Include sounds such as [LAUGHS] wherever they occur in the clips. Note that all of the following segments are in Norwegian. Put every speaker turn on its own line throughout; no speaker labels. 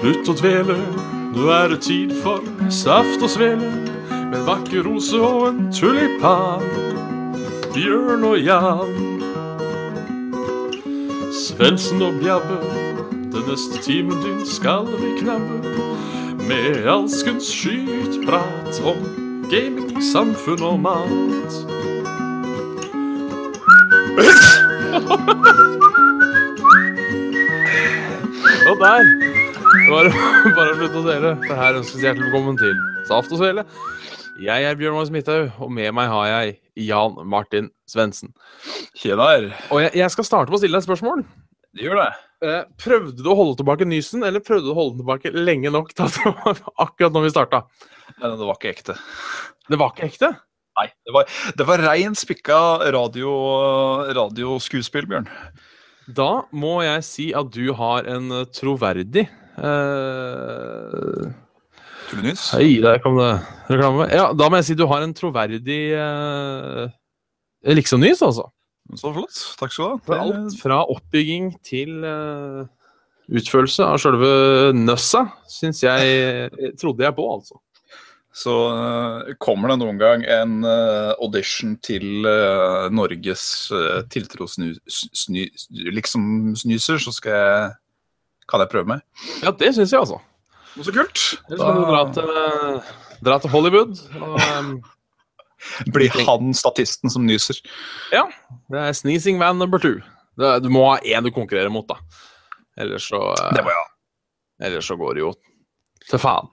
Slutt å dvele, nå er det tid for saft og svele. Med en vakker rose og en tulipan. Bjørn og Jan. Svendsen og Bjabbe, den neste timen din skal vi knabbe. Med alskens skytprat om gaming, samfunn og mat. Og der var [LAUGHS] det bare å slutte å dele. Det her ønskes hjertelig velkommen til Saft og Svele. Jeg er Bjørn Magnus Midthaug, og med meg har jeg Jan Martin Svendsen.
Kjedar,
Og jeg, jeg skal starte med å stille deg et spørsmål.
det gjør det.
Eh, Prøvde du å holde tilbake nysen, eller prøvde du å holde den tilbake lenge nok til at [LAUGHS] det var akkurat når vi starta?
Men det var ikke ekte.
Det var ikke ekte?
Nei, det var, det var rein spikka radio, radioskuespill, Bjørn.
Da må jeg si at du har en eh, troverdig eh,
Tullenys.
Hei, der kom det reklame. Ja, da må jeg si du har en troverdig eh, liksom-nys, altså.
Så flott. Takk skal du
For
ha.
alt
Det-
fra oppbygging til eh, utførelse av sjølve nøssa, syns jeg trodde jeg på, altså.
Så eh, kommer det noen gang en eh, audition til eh, Norges uh, tiltro-liksom-snyser, liksom så skal jeg, kan jeg prøve meg.
Ja, det syns jeg, altså.
Noe så kult!
Ellers kan du dra
Da
til, eh, dra til Hollywood. Og, eh,
blir han statisten som nyser.
det er sneezing van number two. Det, du må ha én du konkurrerer mot, da. Ellers så, eh,
Det må jeg ha.
ellers så går det jo til faen.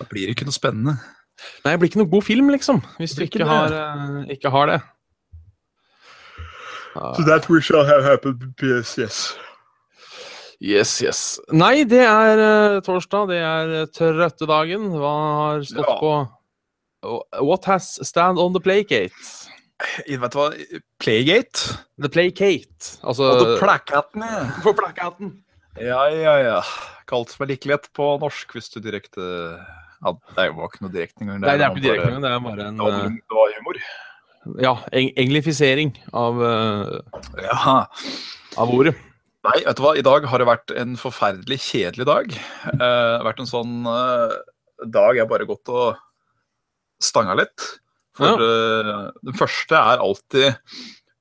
Da blir det ikke noe spennende.
Nei, det blir ikke noe god film, liksom, hvis du
Det blir
ikke
ikke
har, eh, ikke har det. Ah, Ja.
that we shall have happened, yes, yes.
Yes, yes. Nei, det er eh, torsdag, det er eh, trøtte dagen. Hva har stått
Ja.
på Wh- What has stand on the playgate?
Eh, Vet du hva? Playgate?
The playgate, altså
Og The Placatene.
På plakaten.
Ja, ja, ja. Kalt med like lett på norsk hvis du direkte ja, Det er jo ikke noe direkte engang.
Nei, det er ikke
jo bare-
direkte, men det er bare en
Ja,
eh,
men Det var humor.
ja, eng englifisering av, eh,
Ja.
av ordet.
Nei, vet du hva. I dag har det vært en forferdelig kjedelig dag. Eh, Det har vært en sånn eh, dag jeg bare gått og stanga litt. For eh, den første er alltid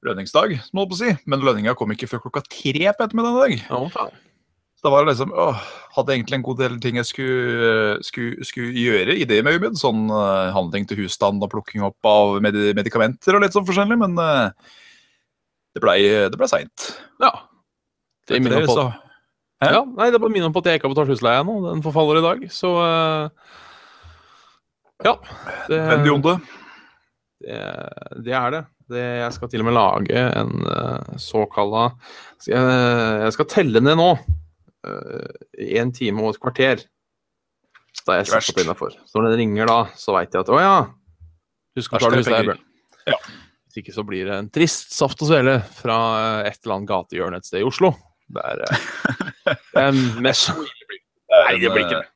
lønningsdag, som jeg holdt på å si. Men lønninga kom ikke før klokka tre på ettermiddag.
Ja, faen.
Så da var det liksom åh, Hadde egentlig en god del ting jeg skulle, eh, skulle, skulle gjøre i det med Umid. Sånn eh, handling til husstand og plukking opp av medi medikamenter og litt sånn forskjellig, men eh, det blei ble seint.
ja. Det minner på
Hæ?
Ja, nei, det er bare minner om på at jeg ikke har betalt husleia ennå. Den forfaller i dag, så eh, Ja. Det,
Nødvendig onde.
det, det er det. det. Jeg skal til og med lage en uh, såkalla skal jeg, jeg skal telle ned nå. Én time og et kvarter. Da er jeg
Ikke verst.
satt opp innafor. Så når den ringer da, så veit jeg at å ja, husk å
Der
betale
skal det
husleia,
penger.
Bjørn.
Ja.
Hvis ikke så blir det en trist saft og svele fra eh, et eller annet gatehjørne et sted i Oslo. Det er
[LAUGHS]
eh, det er mest Nei, det eh, blir ikke
det.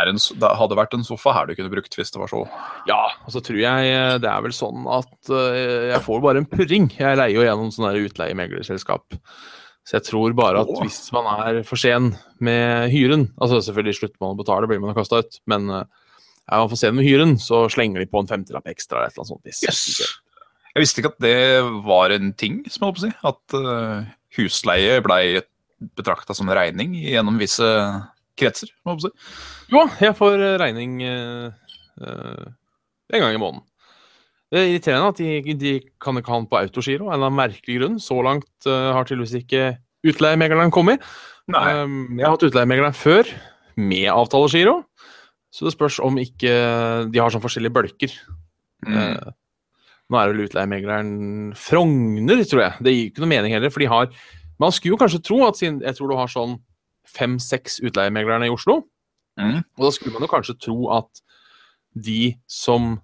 er en, det hadde vært en sofa her du kunne brukt hvis det var så.
Ja, og så tror jeg eh, det er vel sånn at eh, jeg får bare en purring. Jeg leier jo gjennom sånne her utleiemeglerselskap. Så jeg tror bare at
Åh.
hvis man er for sen med hyren Altså selvfølgelig slutter man å betale, blir man kasta ut. Men eh, er man for sen med hyren, så slenger de på en femtilapp ekstra eller et eller annet sånt. piss.
Jeg visste ikke at det var en ting, som jeg holdt på å si. At eh, husleie blei betrakta som regning gjennom visse kretser. som jeg holdt på å si.
Jo, jeg får eh, regning eh, eh, en gang i måneden. Det er irriterende at de, de kan ikke ha den på autogiro av en eller annen merkelig grunn. Så langt eh, har tydeligvis ikke utleiemegleren kommet. Um, jeg har hatt utleiemegleren før, med avtalegiro. Så det spørs om ikke De har sånn forskjellige bølker.
Mm.
Eh, nå er det vel utleiemegleren Frogner, tror jeg. Det gir ikke noe mening heller, for de har Man skulle jo kanskje tro at siden Jeg tror du har sånn fem-seks utleiemeglerne i Oslo.
Mm.
Og da skulle man jo kanskje tro at de som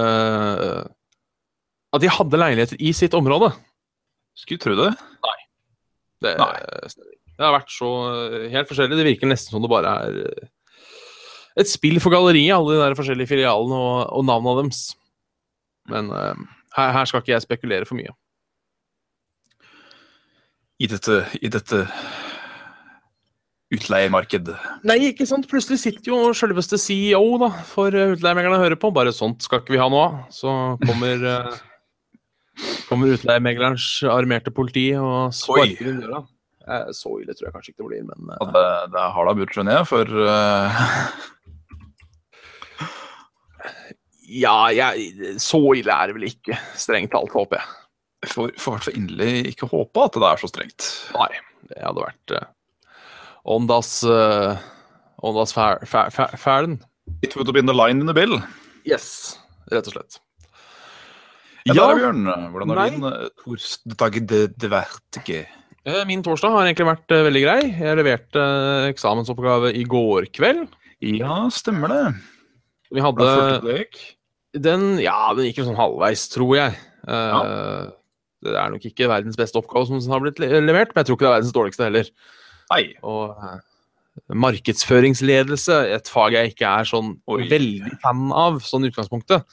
eh, At de hadde leiligheter i sitt område.
Skulle tro det.
Det,
Nei.
det har vært så eh, helt forskjellig. Det virker nesten som det bare er eh, et spill for galleriet, alle de der forskjellige filialene og, og navnene deres. Men eh, her, her skal ikke jeg spekulere for mye.
I dette, i dette utleiemarked.
Nei, ikke sant. Plutselig sitter jo selveste CEO da, for utleiemeglerne og hører på. Bare sånt skal ikke vi ha noe av. Så [LAUGHS] kommer, eh, kommer utleiemeglerens armerte politi og sparker inn døra. Eh, Så ille tror jeg kanskje ikke det blir, men
Ja,
eh,
det, det er harda bud, skjønner jeg, for eh,
ja, jeg, så ille er det vel ikke. Strengt talt, håper jeg.
jeg får får i hvert fall inderlig ikke håpe at det er så strengt.
Nei, det hadde vært eh, Åndas eh, Åndas fæl- fæl- fæl- fælen.
It would have been the line in the bill.
Yes, rett og slett.
Ja,
Ja.
der, Bjørn. Hvordan har
Nei.
din eh, torsdag det, det vært ikke?
Eh, Min torsdag har egentlig vært eh, veldig grei. Jeg leverte eh, eksamensoppgave i går kveld.
Ja, stemmer det.
Vi hadde
Hvordan følte du det gikk?
den Ja, den gikk jo sånn halvveis, tror jeg. Eh,
Ja.
Det er nok ikke verdens beste oppgave som har blitt le- levert, men jeg tror ikke det er verdens dårligste heller.
Nei.
Og eh, markedsføringsledelse, et fag jeg ikke er sånn
Oi.
veldig fan av, sånn i utgangspunktet.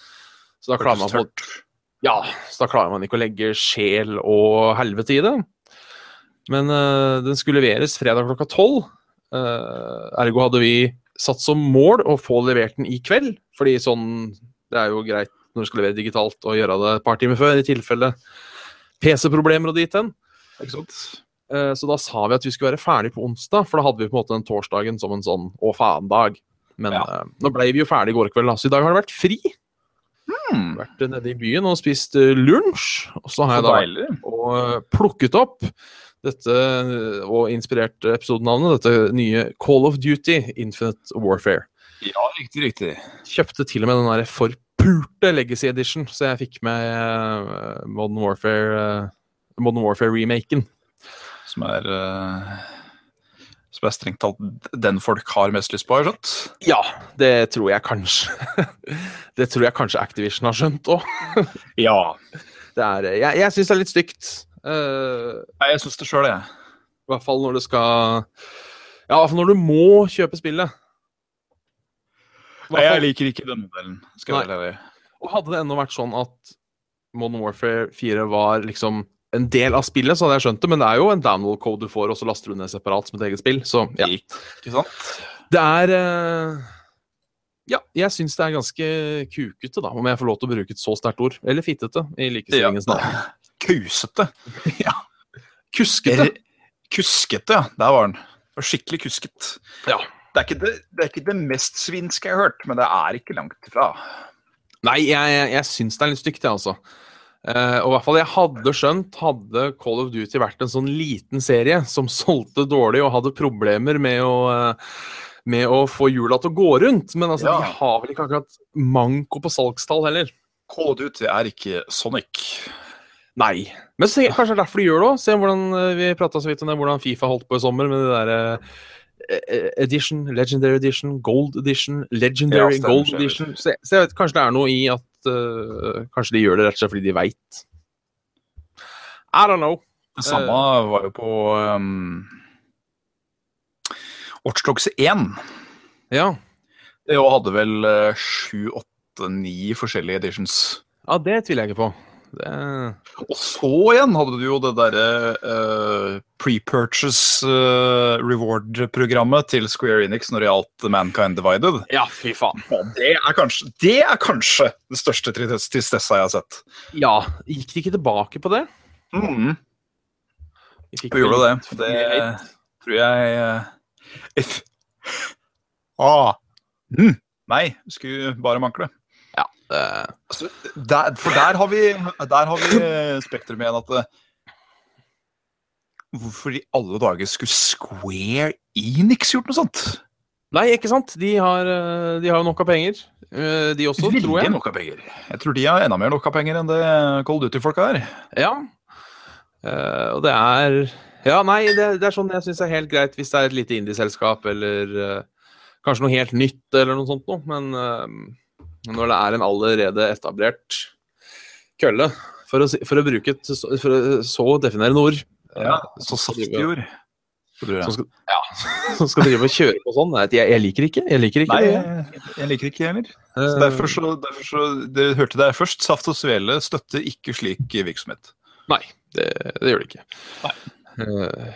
Så da klarer man på
Hørtes tørt.
Ja, så da klarer man ikke å legge sjel og helvete i det. Men eh, den skulle leveres fredag klokka tolv. Eh, ergo hadde vi satt som mål å få levert den i kveld. Fordi sånn, det er jo greit når du skal levere digitalt og gjøre det et par timer før, i tilfelle PC-problemer og dit hen.
Ikke sant?
Eh, så da sa vi at vi skulle være ferdig på onsdag, for da hadde vi på en måte den torsdagen som en sånn å faen-dag. Men
Ja.
eh, nå ble vi jo ferdig i går kveld, da, så i dag har det vært fri.
Hmm,
Vært nede i byen og spist eh, lunsj. Og så har
så
jeg da vært
deilig.
og eh, plukket opp dette, eh, og inspirert episodenavnet, dette nye Call of Duty Infinite Warfare.
Ja, riktig, riktig.
Kjøpte til og med den der forpurte Legacy Edition, så jeg fikk med eh, Modern Warfare eh, Modern Warfare-remaken.
Som er eh, Som er strengt talt den folk har mest lyst på, har jeg skjønt.
Ja, det tror jeg kanskje [LAUGHS] Det tror jeg kanskje Activision har skjønt òg.
Ja.
Jeg, jeg syns det er litt stygt. eh,
Nei, jeg syns det sjøl, jeg.
I hvert fall når du skal Ja, i hvert fall når du må kjøpe spillet. I hvert
Nei,
fall-
jeg liker ikke den modellen. Skal jeg være ærlig.
Og hadde det ennå vært sånn at Modern Warfare 4 var liksom en del av spillet, så hadde jeg skjønt det, men det er jo en download-code du får, og så laster du ned separat som et eget spill, så ja.
Ikke sant?
Det er eh, Ja, jeg syns det er ganske kukete, da, om jeg får lov til å bruke et så sterkt ord. Eller fittete, i likestillingens navn.
[LAUGHS] Kusete. [LAUGHS]
Kuskete!
Eller- Kuskete, ja. Der var den. Det var Skikkelig kusket.
Ja.
Det er, ikke det, det er ikke det mest svinske jeg har hørt, men det er ikke langt ifra.
Nei, jeg, jeg, jeg syns det er litt stygt, jeg, altså. Eh, og i hvert fall jeg hadde skjønt, hadde Call of Duty vært en sånn liten serie som solgte dårlig og hadde problemer med å, eh, med å få hjula til å gå rundt. Men altså,
Ja.
de har vel ikke akkurat manko på salgstall heller.
Call of Duty er ikke Sonic.
Nei. Men
Ah.
så tenker jeg, kanskje det er derfor de gjør det òg. Se hvordan eh, vi prata så vidt om det, hvordan Fifa holdt på i sommer med det derre e-, Edition, Legendary Edition, Gold Edition,
Ja,
Legendary
stemmer,
Gold
stemmer.
Edition. Så, jeg- så jeg vet kanskje det er noe i at eh, Kanskje de gjør det rett og slett fordi de veit. I don't know.
Det samme var jo på um, Watchdogs 1.
Ja,
Det jo hadde vel eh, sju, åtte, ni forskjellige editions.
ja det tviler jeg ikke på. Det...
Og så igjen hadde du jo det derre eh, pre-purchase eh, reward-programmet til Square Enix når det gjaldt Mankind Divided.
Ja, fy faen.
Ja, Det er kanskje det, er kanskje det største tri- tristessa jeg har sett.
Ja, Gikk de ikke tilbake på det?
Mm.
De fikk
Vi gjorde
vel-
det. Det tror jeg eh, if. Ah. Mm. Nei, skulle bare mangle.
Eh,
Altså, der, for der har vi, der har vi eh, Spektrum igjen at eh, Hvorfor i alle dager skulle Square Enix gjort noe sånt?
Nei, ikke sant? De har, eh, de har jo nok av penger, eh, de også,
Veldig
tror jeg.
nok av penger. Jeg tror de har enda mer nok av penger enn det Cold Duty-folka er.
Ja. Eh, og det er Ja, nei, det, det er sånn jeg syns er helt greit hvis det er et lite indieselskap eller eh, kanskje noe helt nytt eller noe sånt noe, men eh, når det er en allerede etablert kølle, for å, si- for å bruke et så, for å, så definerende ord eh,
Så
som skal
saftig
drive-
jord. Så tror jeg.
Som skal, ja, [LAUGHS] som skal drive og kjøre på sånn. Nei, Jeg, jeg liker ikke. Jeg liker ikke
Nei,
det.
jeg, jeg liker ikke jeg heller.
Eh,
Så derfor så, derfor så Dere hørte det her først.
Eh,
Saft og Svele støtter ikke slik virksomhet.
Nei, det, det gjør det ikke. Eh,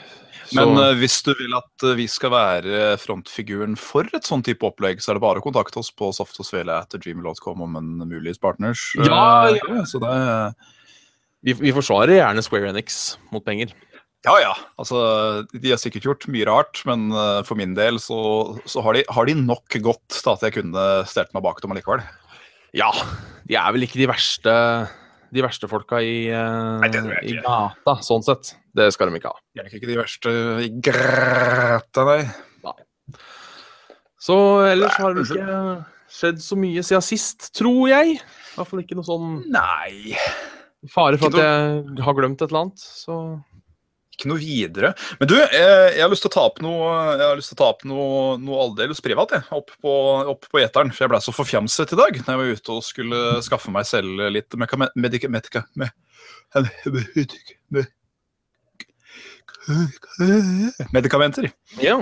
så-
Men eh, hvis du vil at eh, vi skal være frontfiguren for et sånn type opplegg, så er det bare å kontakte oss på softogsvele.dreamlot.com om en mulig partners. eh,
Ja, ja.
greie, Så det,
vi, vi forsvarer gjerne Square Enix mot penger.
ja, ja. Altså, de har sikkert gjort mye rart, men eh, for min del så, så har, de, har de nok godt til at jeg kunne stelt meg bak dem allikevel.
Ja, de er vel ikke de verste de verste folka i, eh,
Nei, det tror jeg
i
ikke.
gata, sånn sett. Det skal de ikke ha.
De er nok ikke de verste i grøta, nei.
Så ellers har det
Nei,
ikke skjedd så mye siden sist, tror jeg. I hvert fall ikke noe sånn
Nei.
fare for at
Ikke
jeg har glemt et eller annet. Så
Ikke noe videre. Men du, eh, jeg har lyst til å ta opp noe, jeg har lyst til å ta opp noe, noe aldeles privat, jeg. Opp på, opp på eteren. For jeg ble så forfjamset i dag da jeg var ute og skulle skaffe meg selv litt meka- medika... medika med, med, medikamenter.
ja.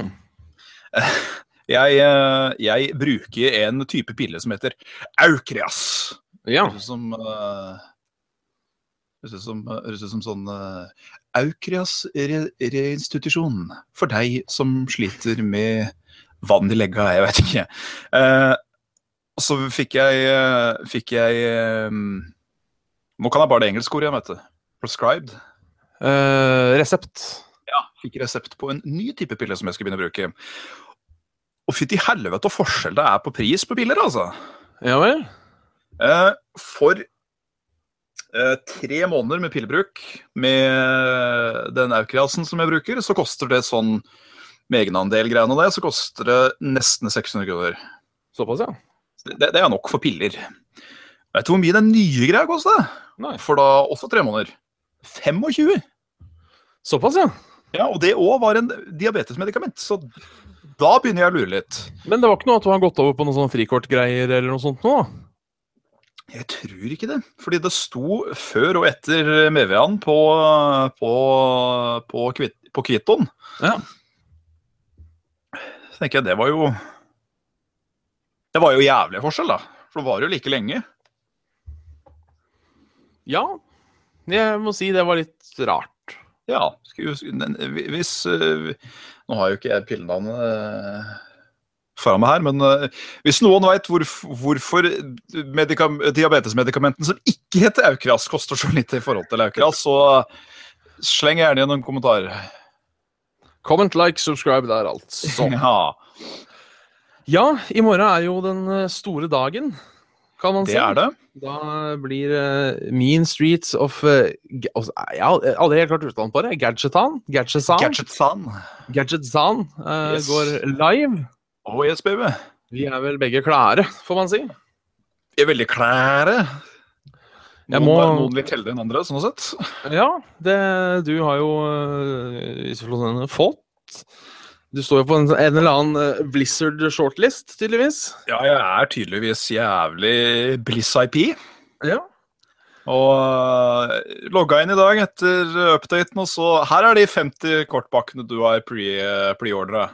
Jeg, eh, jeg bruker en type pille som heter Aukreas.
ja.
Høres ut som eh, Høres ut som, høres ut som sånn eh, Aukrias re reinstitusjon for deg som sliter med vann i legga, jeg vet ikke. Eh, og så fikk jeg eh, Fikk jeg eh, Nå kan jeg bare det engelske ordet, jeg, vet du. Prescribed.
Eh, resept.
Fikk resept på en ny type pille som jeg skal begynne å bruke. Og fytti helvete og forskjell det er på pris på piller, altså.
Ja vel?
Eh, for eh, tre måneder med pillebruk, med den Aukriasen som jeg bruker, så koster det sånn med egenandel-greiene og det, så koster det nesten 600 kroner.
Såpass, ja.
Så Det, det er nok for piller. Vet du hvor mye den nye greia kosta?
Nei.
For da også tre måneder. 25!
Såpass, ja.
Ja, og det òg var en diabetesmedikament, så da begynner jeg å lure litt.
Men det var ikke noe at du har gått over på noen sånne frikortgreier eller noe sånt nå?
Jeg tror ikke det. Fordi det sto før og etter Mevean på, på, på, kvit, på Kvitton.
Ja.
Så tenker jeg, det var jo Det var jo jævlig forskjell, da. For det varer jo like lenge.
Ja. Jeg må si det var litt rart.
Ja. skulle- skulle- men Hvis eh, Nå har jo ikke jeg pillenavnet eh, foran meg her, men eh, hvis noen veit hvorfor medikam, diabetesmedikamenten som ikke heter Aukras, koster så lite i forhold til Aukras, så sleng gjerne igjen en kommentar.
Comment, like, subscribe der, altså.
Ja,
Ja, i morgen er jo den eh, store dagen, kan man
det
si.
er det.
Da blir eh, Mean Streets of eh, Ga- altså, Jeg har aldri helt klart uttalen på det. Gadgetan? Gadgetsan?
Gadget-san.
Gadgetsan eh,
Yes.
går live.
Oh yes, baby.
Vi er vel begge klare, får man si.
Vi er veldig klære.
Jeg
Noen,
må-
noen litt heldigere enn andre, sånn sett.
Ja, det, du har jo eh, i så fall denne fått Du står jo på en, en eller annen eh, Blizzard shortlist,
[LAUGHS]
tydeligvis.
Ja, jeg er tydeligvis jævlig Bliss IP.
Ja.
Og eh, logga inn i dag etter updaten, og så Her er de 50 kortpakkene du har pre- preordra.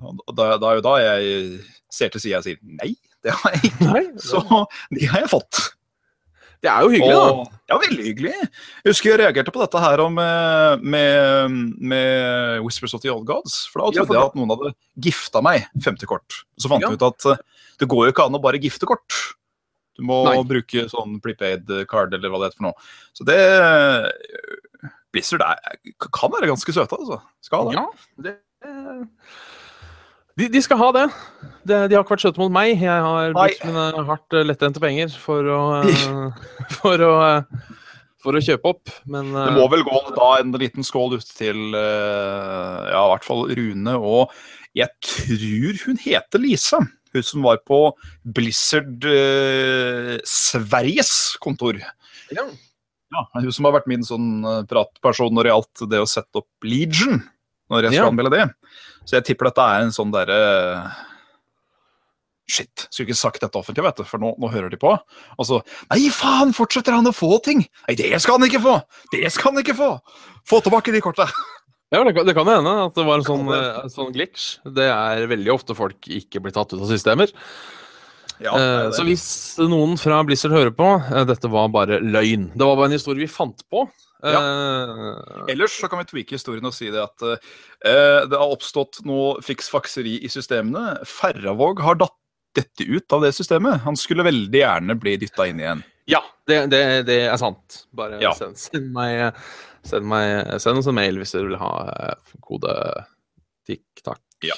Og da, da er jo da jeg ser til sida og sier nei, det har jeg ikke. [LAUGHS]
Nei,
Så de har jeg fått.
det er jo hyggelig, da.
Og, ja, veldig hyggelig. Jeg husker jeg reagerte på dette her om, eh, med, med Whispers of the Old Gods. For da
Ja, for
trodde
da-
jeg at noen hadde gifta meg 50 kort. Så fant
Ja.
jeg ut at eh, det går jo ikke an å bare gifte kort. Du må
Nei.
bruke sånn prepaid card eller hva det heter for noe. Så det eh, Blizzard er, kan være ganske søte, altså. Skal det.
Ja, det de, de skal ha det. De, de har ikke vært søte mot meg. Jeg har
Nei.
brukt mine hardt eh, lettjente penger for å, eh, [LAUGHS] for, å, eh, for å kjøpe opp. Men eh,
Det må vel gå da en liten skål ut til eh, ja, i hvert fall Rune og Jeg tror hun heter Lise. Hun som var på Blizzard eh, Sveriges kontor.
ja.
Ja, hun som har vært min sånn eh, pratperson når det gjaldt det å sette opp Legion. Når jeg skal
Ja.
anmelde det. Så jeg tipper dette er en sånn derre Shit, skulle ikke sagt dette offentlig, vet du, for nå, nå hører de på. Og så Nei, faen, fortsetter han å få ting! Nei, det skal han ikke få! Det skal han ikke få! Få tilbake de korta!
Ja, det, kan- det kan jo hende at det var en
Kan
sånn, eh, en sånn glitch. Det er veldig ofte folk ikke blir tatt ut av systemer.
[LAUGHS] Ja,
Eh,
det er
Så
det.
hvis noen fra Blizzard hører på, eh, dette var bare løgn. Det var bare en historie vi fant på. Eh,
Ellers så kan vi tweake historien og si det at eh, det har oppstått noe fiksfakseri i systemene. Ferravåg har datt dette ut av det systemet. Han skulle veldig gjerne bli dytta inn igjen.
Ja, det, det, det er sant. Bare
Ja.
send, send, meg, send, meg, send oss en mail hvis du vil ha eh, kode tikk-takk.
Ja.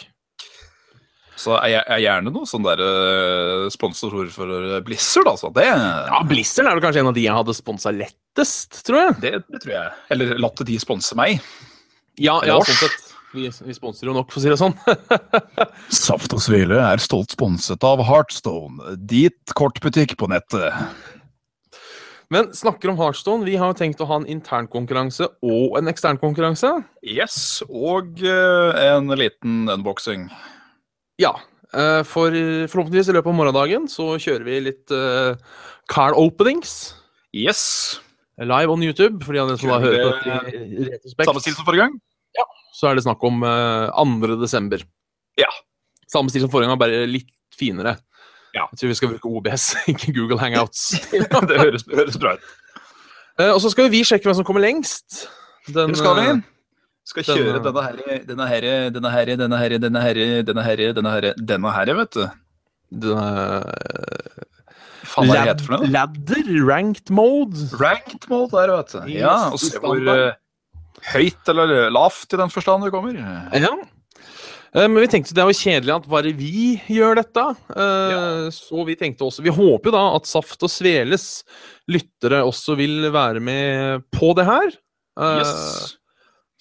Så er jeg er gjerne noe sånn der eh, sponsor for eh, Blizzard, altså. Det,
Ja, Blizzard er vel kanskje en av de jeg hadde sponsa lettest, tror jeg.
det, det tror jeg. Eller la til de sponse meg.
Ja,
Eller
ja
oss.
sånn sett. Vi, vi sponser jo nok, for å si det sånn. [LAUGHS]
Saft og Svele er stolt sponset av Heartstone. Dit kortbutikk på nettet.
Men snakker om Heartstone, vi har jo tenkt å ha en internkonkurranse og en eksternkonkurranse.
Yes, og eh, en liten unboxing.
Ja. eh, For forhåpentligvis i løpet av morgendagen så kjører vi litt eh, car openings
Yes.
live on YouTube. For de av dere som da hører på dette i i
Samme stil
retrospekt,
som forrige gang. [LAUGHS]
så er det snakk om eh, 2. desember.
Ja.
Samme stil som forrige gang, bare litt finere.
Ja.
Jeg tror vi skal bruke OBS, [LAUGHS] ikke Google
[LAUGHS]
Hangouts.
det høres, det høres bra ut.
Eh, Og så skal jo vi sjekke hvem som kommer lengst. Den,
Det skal vi.
eh,
Skal
den,
kjøre
eh,
denne her, denne her, denne her, denne her, denne her, denne her, denne her, denne her, vet du.
den, eh,
Faen, hva er det heter for noe?
Ladder ranked mode.
Ranked mål der, vet du. Ja, og se hvor eh, høyt eller lavt i den forstand du kommer.
Ja. Eh, Men vi tenkte det var kjedelig at bare vi gjør dette. Eh, Så vi tenkte også Vi håper jo da at Saft og Sveles lyttere også vil være med på det her. Eh,
Yes.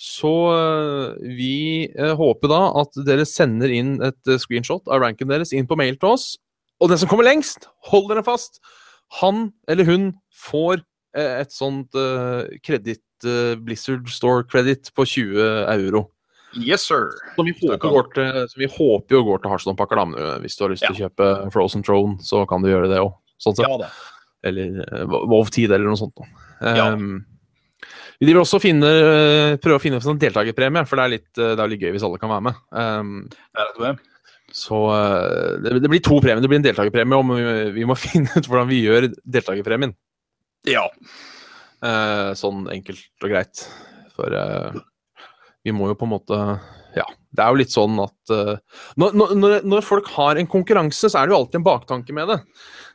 Så eh, vi eh, håper da at dere sender inn et eh, screenshot av ranken deres inn på mail til oss. Og den som kommer lengst, hold dere fast, han eller hun får eh, et sånt eh, kreditt, eh, Blizzard Store-kreditt på 20 euro.
Yes, sir.
Som vi håper,
Stakkars.
går til, som vi håper jo går til Heartstone-pakker, da. men eh, Hvis du har lyst til å kjøpe Frozen Throne, så kan du gjøre det òg. Sånn sett.
Ja da.
Eller eh, Vov 10 eller noe sånt. Da.
Ja.
Ehm, vi driver også og finner, eh, prøver å finne en sånn deltakerpremie, for det er, litt, eh, det er litt gøy hvis alle kan være med. Ehm,
Der er det.
så eh, det, det blir to premier. Det blir en deltakerpremie, og vi, vi må [LAUGHS] finne ut hvordan vi gjør deltakerpremien.
Ja.
Eh, sånn enkelt og greit. For eh, vi må jo på en måte Ja, det er jo litt sånn at eh, når, når- når, når folk har en konkurranse, så er det jo alltid en baktanke med det.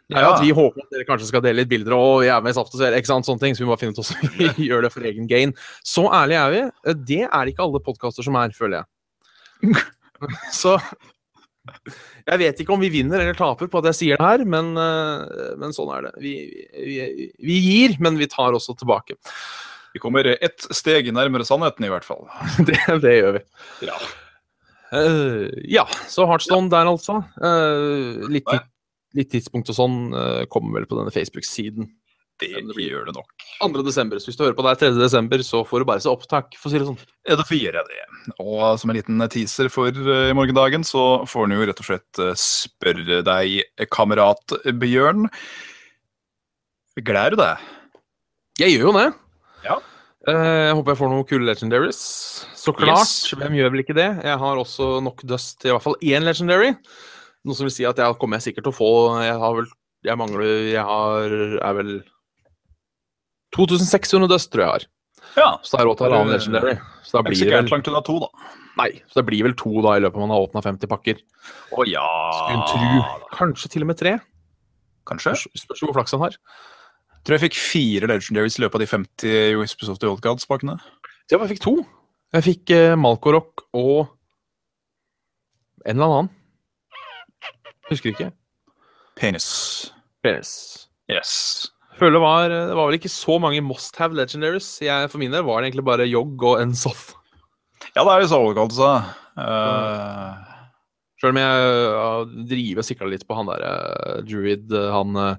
Det er jo
Ja.
at Vi håper at dere kanskje skal dele litt bilder og vi er med i Saft og Svele, ikke sant, sånne ting, så vi må bare finne ut hvordan vi [LAUGHS] gjør det for egen gain. Så ærlig er vi. Eh, Det er det ikke alle podkaster som er, føler [LAUGHS] jeg. Så jeg vet ikke om vi vinner eller taper på at jeg sier det her, men, eh, men sånn er det. Vi, vi, vi gir, men vi tar også [LAUGHS] tilbake.
Vi kommer ett steg nærmere sannheten, i hvert fall.
Det, det gjør vi.
Ja.
Eh, ja, så Heartstone der, altså. Eh, litt, tid- litt tidspunkt og sånn eh, kommer vel på denne Facebook-siden.
Det gjør det nok.
2. desember, så hvis du hører på der 3. desember, så får du bare se opptak, for å si det sånn.
Ja, Derfor gjør jeg det. Og som en liten teaser for eh, i morgendagen, så får en jo rett og slett eh, spørre deg, eh, kamerat Bjørn. Gleder du deg?
Jeg gjør jo det.
Ja.
Eh, jeg håper jeg får noen kule legendaries. Så klart.
Yes.
Hvem gjør vel ikke det? Jeg har også nok dust til i hvert fall én legendary. Noe som vil si at jeg kommer jeg sikkert til å få Jeg har vel Jeg mangler Jeg har er vel 2600 dust, tror jeg jeg har.
Ja.
Så det er råd til å ha en legendary. Så da
Det er
blir
ikke
det
gærent
vel
langt unna to, da.
Nei, så det blir vel to da i løpet av man har åpna 50 pakker.
Å ja
Skulle
Ah.
en tru. Kanskje til og med tre.
Kanskje.
Spørs spørs hvor flaks han har.
Tror jeg fikk fire legendaries i løpet av de 50 Ubisoft Old Gods-pakene.
Ja, men jeg fikk to. Jeg fikk eh, Malkorok og en eller annen. Husker ikke.
Penis.
Peres.
Yes.
Føler det var, eh, det var vel ikke så mange must have legendaries. Jeg, for min del var det egentlig bare Jogg og Ensoth.
Ja, det er disse Old Gods, da. Eh,
Sjøl om jeg ja, driver og sikla litt på han derre druid, eh, han eh,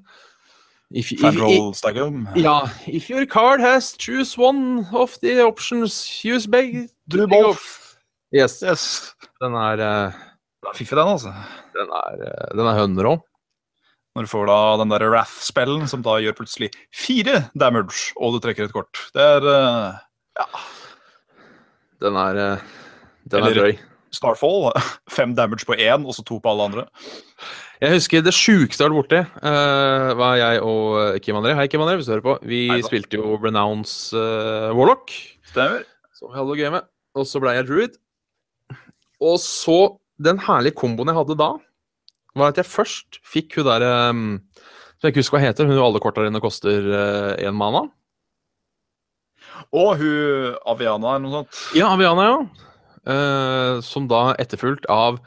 if, if,
Fandral Stagham.
i- ja, if your card has choose one of the options, use beg
Do both.
Yes.
Yes.
Den er, eh,
Det er fiffig, den, altså.
den er, eh, den er høner òg.
Når du får da den der Wrath-spellen som da gjør plutselig fire damage, og du trekker et kort. Det er eh,
Den er, eh, den er
Eller-
drøy.
[LAUGHS] Starfall. Fem damage på én, og så to på alle andre.
Jeg husker det sjukeste jeg har vært borti. eh, var jeg og eh, Kim André. Hei, Kim André, hvis du hører på. Vi
Hei da.
spilte jo Renounce eh, Warlock,
Stemmer.
som vi hadde det gøy med. Og så ble jeg druid. Og så Den herlige komboen jeg hadde da, var at jeg først fikk hun derre Som jeg ikke husker hva heter. Hun alle korta dine koster én mana.
Og hun Aviana eller noe sånt.
Ja, Aviana, ja. Eh, som da etterfulgt av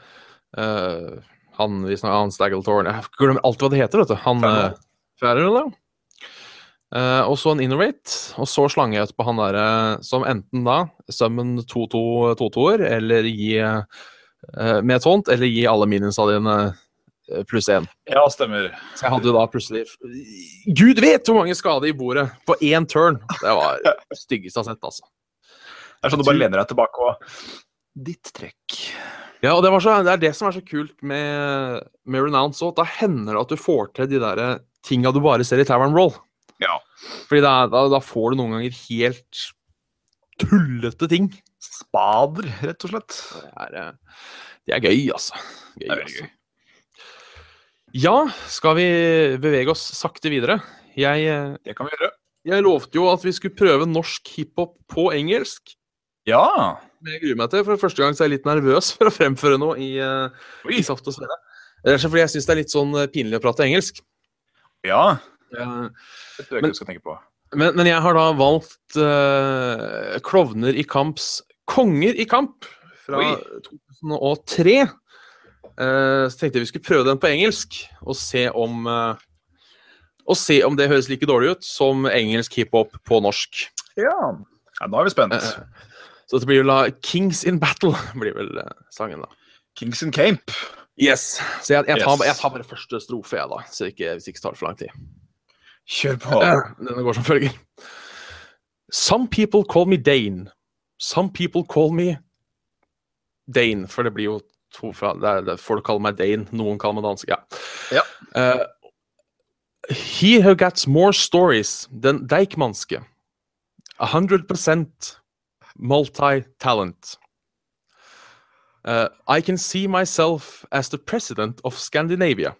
eh, han vi snakker han Staggletorn Jeg glemmer alltid hva det heter, vet du. Han
Færre.
uh, Færre, eller? Eh, og så en Innovate, og så slange jeg ut på han derre som enten da summon 2-2-2-2-er, eller gi eh, med et hånd, eller gi alle minionsa dine eh, pluss én.
Ja, stemmer.
Så jeg hadde jo da plutselig Gud vet hvor mange skader i bordet på én turn! Det var det styggeste jeg har sett, altså.
Det er sånn du bare lener deg tilbake og Ditt trekk.
Ja, og det, var så, det er det som er så kult med, med Renounce òg. Da hender det at du får til de der eh, tinga du bare ser i Tavern Roll.
Ja.
Fordi da, da, da får du noen ganger helt tullete ting.
Spader, rett og slett.
Det er, eh, det er gøy, altså. Gøy,
Det er veldig gøy.
Ja, skal vi bevege oss sakte videre? Jeg, eh,
Det kan vi gjøre.
jeg lovte jo at vi skulle prøve norsk hiphop på engelsk.
Ja.
Men jeg gruer meg til, for første gang så er jeg litt nervøs [LAUGHS] for å fremføre noe i, eh, i Saft og Svele. Det er så fordi jeg syns det er litt sånn eh, pinlig å prate engelsk.
Ja.
Eh,
Det tror jeg
Men-
ikke du skal tenke på.
Men, men jeg har da valgt eh, Klovner i kamps Konger i kamp fra
Oi.
2003. Eh, så tenkte jeg vi skulle prøve den på engelsk og se om eh, og se om det høres like dårlig ut som engelsk hiphop på norsk.
Ja. ja nå er vi spent.
Eh, så dette blir vel da 'Kings in Battle' [LAUGHS] blir vel eh, sangen, da.
Kings in Camp.
Yes. Så jeg, jeg, tar,
Yes.
jeg tar bare første strofe, jeg, da. Så ikke, hvis det ikke tar for lang tid.
Kjør på.
Denne går som følger. Some people call me Dane. Some people call me Dane, for det blir jo to fra det er, det, Folk kaller meg Dane, noen kaller meg dansk. Ja.
Ja.
Eh, he who gets more stories than Deichmanske. 100% multi-talent. Eh, I can see myself as the president of Scandinavia.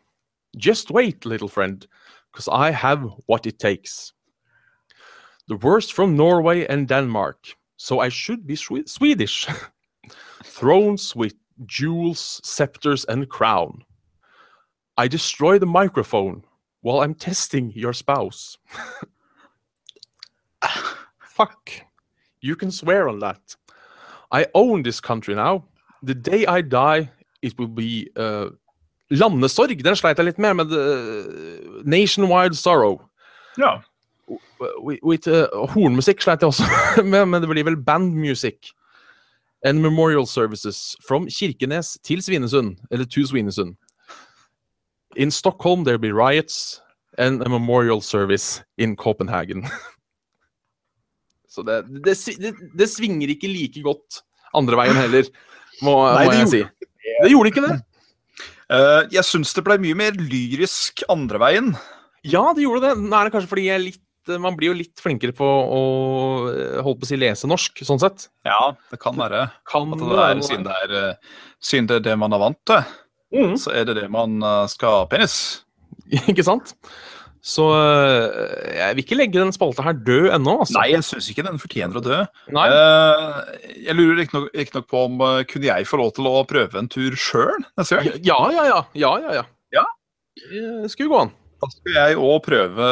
Just wait, little friend because I have what it takes. The worst from Norway and Denmark, so I should be Swe- Swedish. [LAUGHS] Thrones with jewels, scepters, and crown. I destroy the microphone while I'm testing your spouse. [LAUGHS] Fuck. You can swear on that. I own this country now. The day I die, it will be uh, Landesorg, den sleit jeg litt med, men det- Nationwide Sorrow.
Ja.
Wi- With, eh, hornmusikk sleit jeg også [LAUGHS] med, men det blir vel band music. And memorial services from Kirkenes til Svinesund, eller to Svinesund. In Stockholm there be riots and a memorial service in Copenhagen. [LAUGHS] Så det, det, svi- det, det svinger ikke like godt andre veien heller, må,
Nei,
må
det
jeg si. Det gjorde ikke det.
Eh, jeg syns det ble mye mer lyrisk andre veien.
Ja, det gjorde det. Nå er det kanskje fordi jeg er litt, man blir jo litt flinkere på å eh, holdt på å si lese norsk, sånn sett.
Ja, det kan være.
Kan
At
det
det er,
noe-
siden, det er, eh, siden det er det man er vant til,
Mhm,
så er det det man eh, skal ha penis.
Ikke sant? Så eh, jeg vil ikke legge den spalta her død ennå, altså.
Nei, jeg syns ikke den fortjener å dø.
Nei.
Eh, jeg lurer riktignok ikke nok på om eh, kunne jeg få lov til å prøve en tur sjøl neste gang?
Ja, ja, ja. Ja, ja, ja.
Ja.
Eh, Skulle gå an.
Da skal jeg òg prøve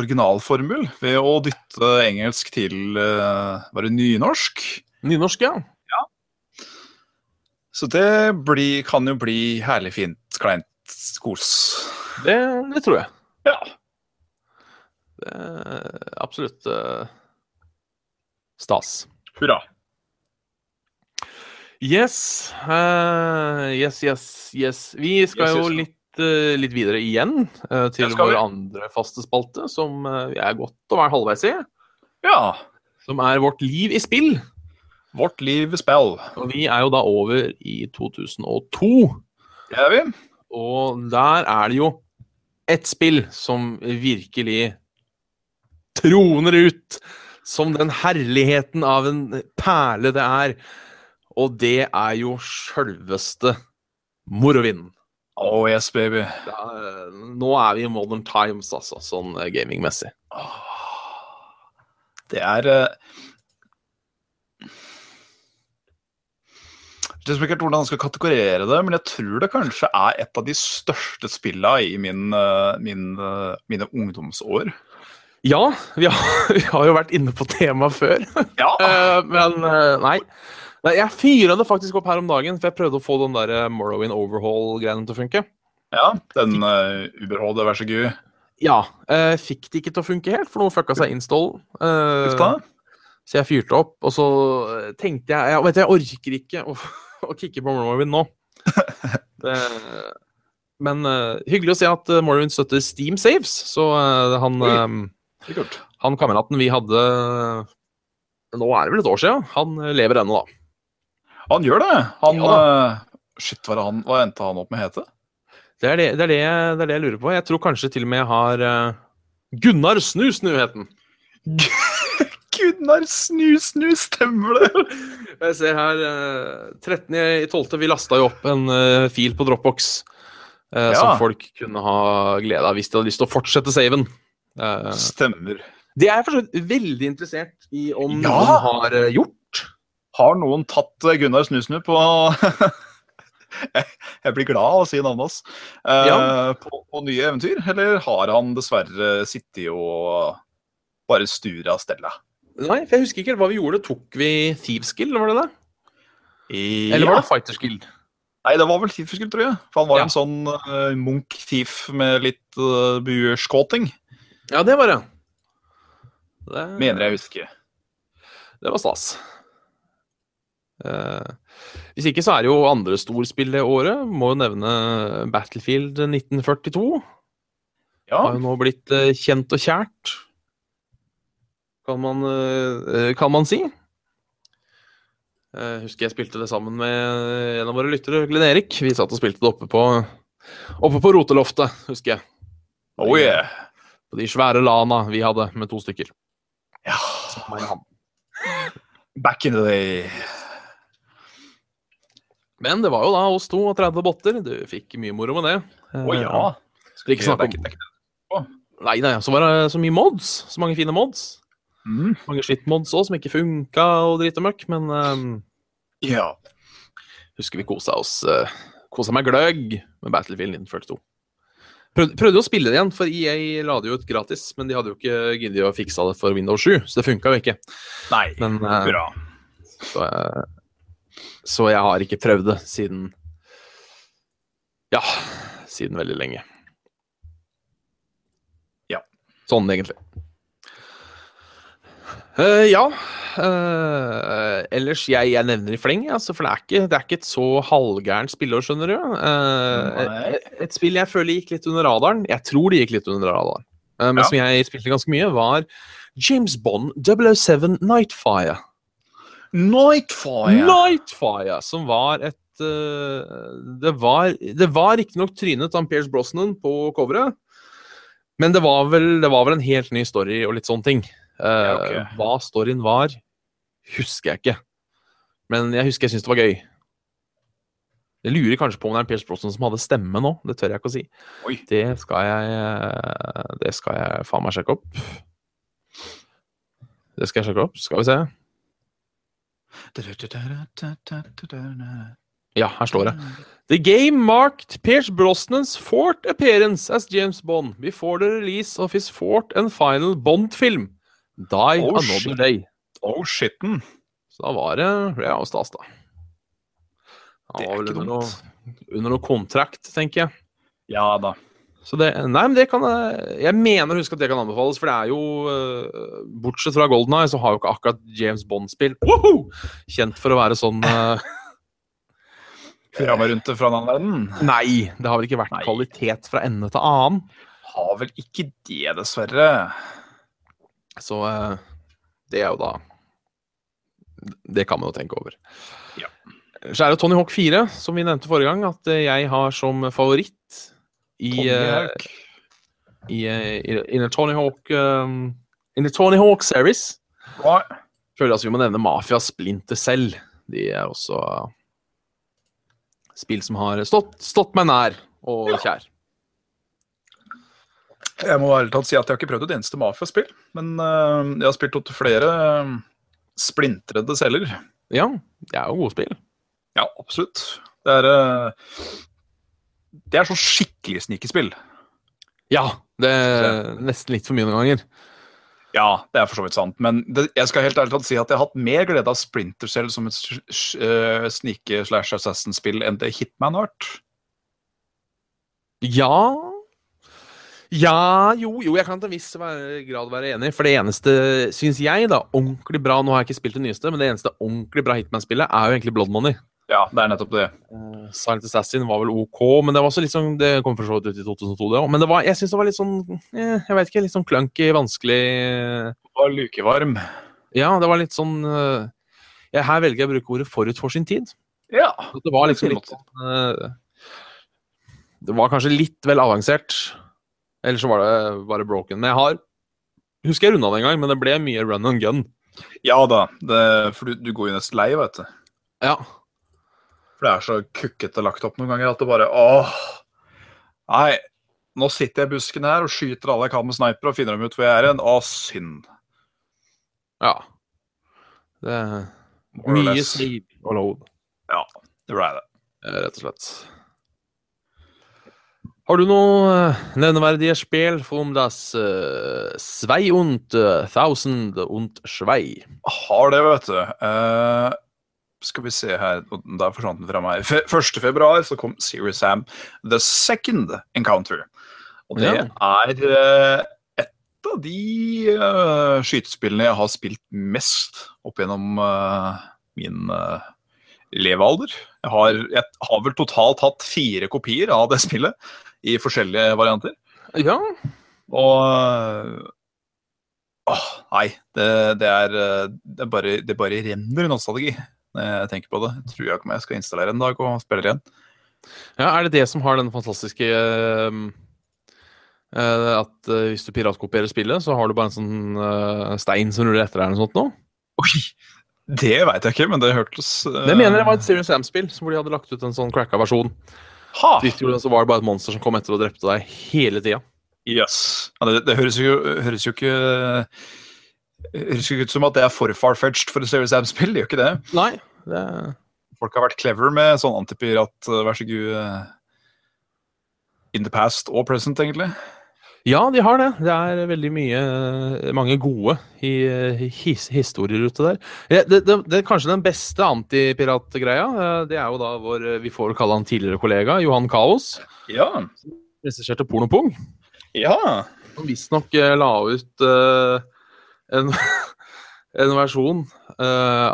originalformul ved å dytte engelsk til eh, bare nynorsk.
Nynorsk, ja.
Så det blir, kan jo bli herlig fint, kleint kos.
Det, det tror jeg.
Ja.
Det er absolutt eh, stas.
Hurra.
Yes. eh, yes, yes, yes. Vi skal
Yes,
jo
yes, yes.
litt, eh, litt videre igjen eh, til
Det skal
vår
vi.
andre faste spalte, som eh, vi er godt å være halvveis i.
Ja.
Som er Vårt liv i spill.
Vårt liv spill.
Og vi er jo da over i 2002.
Det er vi.
Og der er det jo ett spill som virkelig troner ut som den herligheten av en perle det er. Og det er jo sjølveste morovinden.
Oh yes, baby.
Da, eh, nå er vi i modern times, altså, sånn eh, gamingmessig.
Åh. Det er eh, Jeg vet ikke helt hvordan jeg skal kategorere det, men jeg tror det kanskje er et av de største spilla i min, eh, min, eh, mine ungdomsår.
Ja, vi har, [LAUGHS] vi har jo vært inne på temaet før.
Ja,
Eh, men eh, nei. nei. Jeg fyra det faktisk opp her om dagen, for jeg prøvde å få den der eh, Morrowind overhaul-greien til å funke.
ja Den uh, Uberhold, vær så god.
Ja. eh, fikk det ikke til å funke helt, for noe fucka seg installen. Eh,
Uff da.
så jeg fyrte opp, og så eh, tenkte jeg Jeg, vet, du, jeg orker ikke å, [LAUGHS] å kicke på Morrowind
[LAUGHS]
nå. Det, men eh, hyggelig å se at eh, Morrowind støtter Steam Saves, så eh, han
Oi.
eh,
Det er kult.
Han kameraten vi hadde Nå er det vel et år siden. Han lever ennå, da.
Han gjør det. Han
Ja
eh, Shit, hva, er det han, hva endte han opp med å hete?
Det er det, det, er det, det er det jeg lurer på. Jeg tror kanskje til og med jeg har eh, Gunnar Snu-Snu het den.
Gunnar Snu Snu, stemmer det?
Jeg ser her eh, 13.12. Vi lasta jo opp en eh, fil på Dropbox eh,
Ja.
som folk kunne ha glede av hvis de hadde lyst til å fortsette saven. Eh,
Stemmer.
det er jeg for så vidt veldig interessert i om
Ja.
noen har eh, gjort.
Har noen tatt eh, Gunnar Snusnu på [LAUGHS] Jeg jeg blir glad av å si navnet hans. Eh,
Ja.
på, på nye eventyr, eller har han dessverre sittet og bare stura av stella?
Nei, for jeg husker ikke helt hva vi gjorde. Tok vi Thieves Guild, var det det? Eller var det Fighters Guild?
Nei, det var vel Thief-skull, tror jeg. For han var
Ja.
en sånn eh, munk-thief med litt uh, buerskåting,
Ja, det var det. Det,
mener jeg å huske.
det var stas. Eh, hvis ikke så er det jo andre storspill det året. Må jo nevne Battlefield 1942.
Ja.
Har jo nå blitt eh, kjent og kjært, kan man, eh, eh, kan man si. Jeg husker jeg spilte det sammen med en av våre lyttere, Glenn Erik. Vi satt og spilte det oppe på, oppe på roteloftet, husker jeg.
Oh yeah.
På de svære lana vi hadde med to stykker.
ja.
Meg og han.
Back in the day.
Men det var jo da oss to og 30 botter. Du fikk mye moro med det.
Å
Eh,
ja.
Skal ikke snakke om
det.
Nei, nei, så var det så mye mods. Så mange fine mods.
Mm.
Mange skittmods òg, som ikke funka og drit og møkk. Men eh,
Ja.
husker vi kosa oss uh, Kosa meg gløgg med Battlefield 1942. Prøvde, prøvde å spille det igjen, for EA la det jo ut gratis. Men de hadde jo ikke giddet å fikse det for Windows 7, så det funka jo ikke.
Nei.
Men, eh,
Bra.
Så, eh, så jeg har ikke prøvd det siden Ja, siden veldig lenge.
Ja.
Sånn, egentlig. Eh, ja. eh, ellers, jeg, jeg nevner i fleng, jeg, altså, for det er, ikke, det er ikke et så halvgærent spillår, skjønner du. Eh,
Nei.
et, et spill jeg føler gikk litt under radaren, jeg tror det gikk litt under radaren, eh, men
Ja.
som jeg spilte ganske mye, var James Bond 007 Nightfire.
Nightfire.
Nightfire, som var et eh, Det var, det var riktignok trynet av Pierce Brosnan på coveret, men det var, vel, det var vel en helt ny story og litt sånne ting. Eh,
ok.
Hva storyen var, husker jeg ikke, men jeg husker jeg syntes det var gøy. Jeg lurer kanskje på om det er Pierce Brosnan som hadde stemme nå, det tør jeg ikke å si.
Oi.
Det skal jeg eh, Det skal jeg faen meg sjekke opp. Det skal jeg sjekke opp, skal vi se. Ja, her står det. The game marked Pierce Brosnan's fourth appearance as James Bond before the release of his fourth and final Bond-film, Die
Oh,
Another
shit.
Day.
Oh, shitten.
Så da var det Det er jo stas, da. Han
Det er
var vel
ikke
under
dumt.
noe, under noe kontrakt, tenker jeg.
Ja da.
Så det, nei, men det kan jeg- Jeg mener å huske at det kan anbefales, for det er jo eh, Bortsett fra Golden Eye, så har jo ikke akkurat James Bond-spill woho, kjent for å være sånn
[LAUGHS]
eh,
Hurra meg rundt det fra en annen verden.
Nei, det har vel ikke vært
Nei.
kvalitet fra ende til annen.
Har vel ikke det, dessverre.
Så eh, det er jo da Det kan man jo tenke over.
Ja.
Så er det Tony Hawk 4, som vi nevnte forrige gang, at eh, jeg har som favoritt i, eh,
Kongehøk.
i, eh, i, i the Tony Hawk um, In the Tony Hawk series.
Hva?
Føler jeg altså vi må nevne Mafia Splinter selv. De er også eh, spill som har stått, stått meg nær, og
Ja.
kjær.
Jeg må ærlig talt si at jeg har ikke prøvd et eneste Mafia-spill. Men eh, jeg har spilt opp til flere eh, splintrede celler.
Ja, det er jo gode spill.
Ja, absolutt. Det er, eh, det er sånn skikkelig snikespill.
Ja, det er nesten litt for mye noen ganger.
Ja, det er for så vidt sant. Men det, jeg skal helt ærlig talt si at jeg har hatt mer glede av Splinter Cell som et s- s- eh, snike-slash-assassin-spill enn det Hitman har vært.
Ja Ja, jo, jo, jeg kan til en viss være- grad være enig. For det eneste, syns jeg, da, ordentlig bra Nå har jeg ikke spilt det nyeste, men det eneste ordentlig bra Hitman-spillet er jo egentlig Blood Money.
Ja, det er nettopp det.
Uh, Silent Assassin var vel OK, men det var også litt sånn Det kom for så vidt ut i 2002, det òg. Men det var, jeg syns det var litt sånn eh, Jeg vet ikke, litt sånn clunky, vanskelig eh,
Og lukevarm.
Ja, det var litt sånn eh, ja, Her velger jeg å bruke ordet forut for sin tid.
Ja.
At Det var liksom
På en
litt sånn eh, Det var kanskje litt vel avansert. Eller så var det bare broken. Men jeg har Husker jeg runda det en gang, men det ble mye run and gun.
ja da, det, for du, du går jo nesten lei, vet du.
Ja.
For det er så kukkete lagt opp noen ganger at det bare åh. Nei, nå sitter jeg i busken her og skyter alle jeg kan med sniper og finner dem ut hvor jeg er hen. Å, synd.
ja. Det er
More or
mye
less.
sleep og load,
Ja, det ble det.
eh, rett og slett. Har du noe eh, nevneverdige spill from das eh, Svei und eh, Thousand und Svei?
Har det, vet du. Eh, skal vi se her Å, Der forsvant den fra meg. Fe- 1. februar så kom Serious Sam The Second Encounter. Og det
Ja.
er eh, et av de eh, skytespillene jeg har spilt mest opp gjennom eh, min eh, levealder. Jeg har, jeg har vel totalt hatt fire kopier av det spillet i forskjellige varianter.
Ja.
Og Åh, nei. Det, det, er, eh, det, er bare, det bare renner nostalgi når jeg tenker på det. Jeg tror jeg, jeg skal installere en dag og spille det igjen.
Ja, er det det som har den fantastiske ehm, eh, At eh, hvis du piratkopierer spillet, så har du bare en sånn eh, stein som ruller etter deg eller noe sånt nå?
Oi, det veit jeg ikke, men det hørtes eh,
Det mener jeg var et Serious Sam-spill, hvor de hadde lagt ut en sånn cracka versjon.
Ha!
Så vidt jeg gjorde, så var det bare et monster som kom etter og drepte deg hele tida.
Yes. Ja, det, det høres jo, høres jo ikke Høres jo ikke ut som at det er for far-fetched for et Serious Am-spill. Det gjør ikke det.
Nei, det er
Folk har vært clever med sånn antipirat, eh, vær så god eh, In the past og present, egentlig.
Ja, de har det. Det er veldig mye eh, mange gode i, eh, his, historier ute der. Eh, Det, det, det er kanskje den beste antipiratgreia. eh, Det er jo da vår eh, vi får kalle han tidligere kollega, Johan Kaos.
Ja.
Regisserte Pornopung.
Ja.
som visstnok eh, la ut eh, en, [LAUGHS] en versjon eh,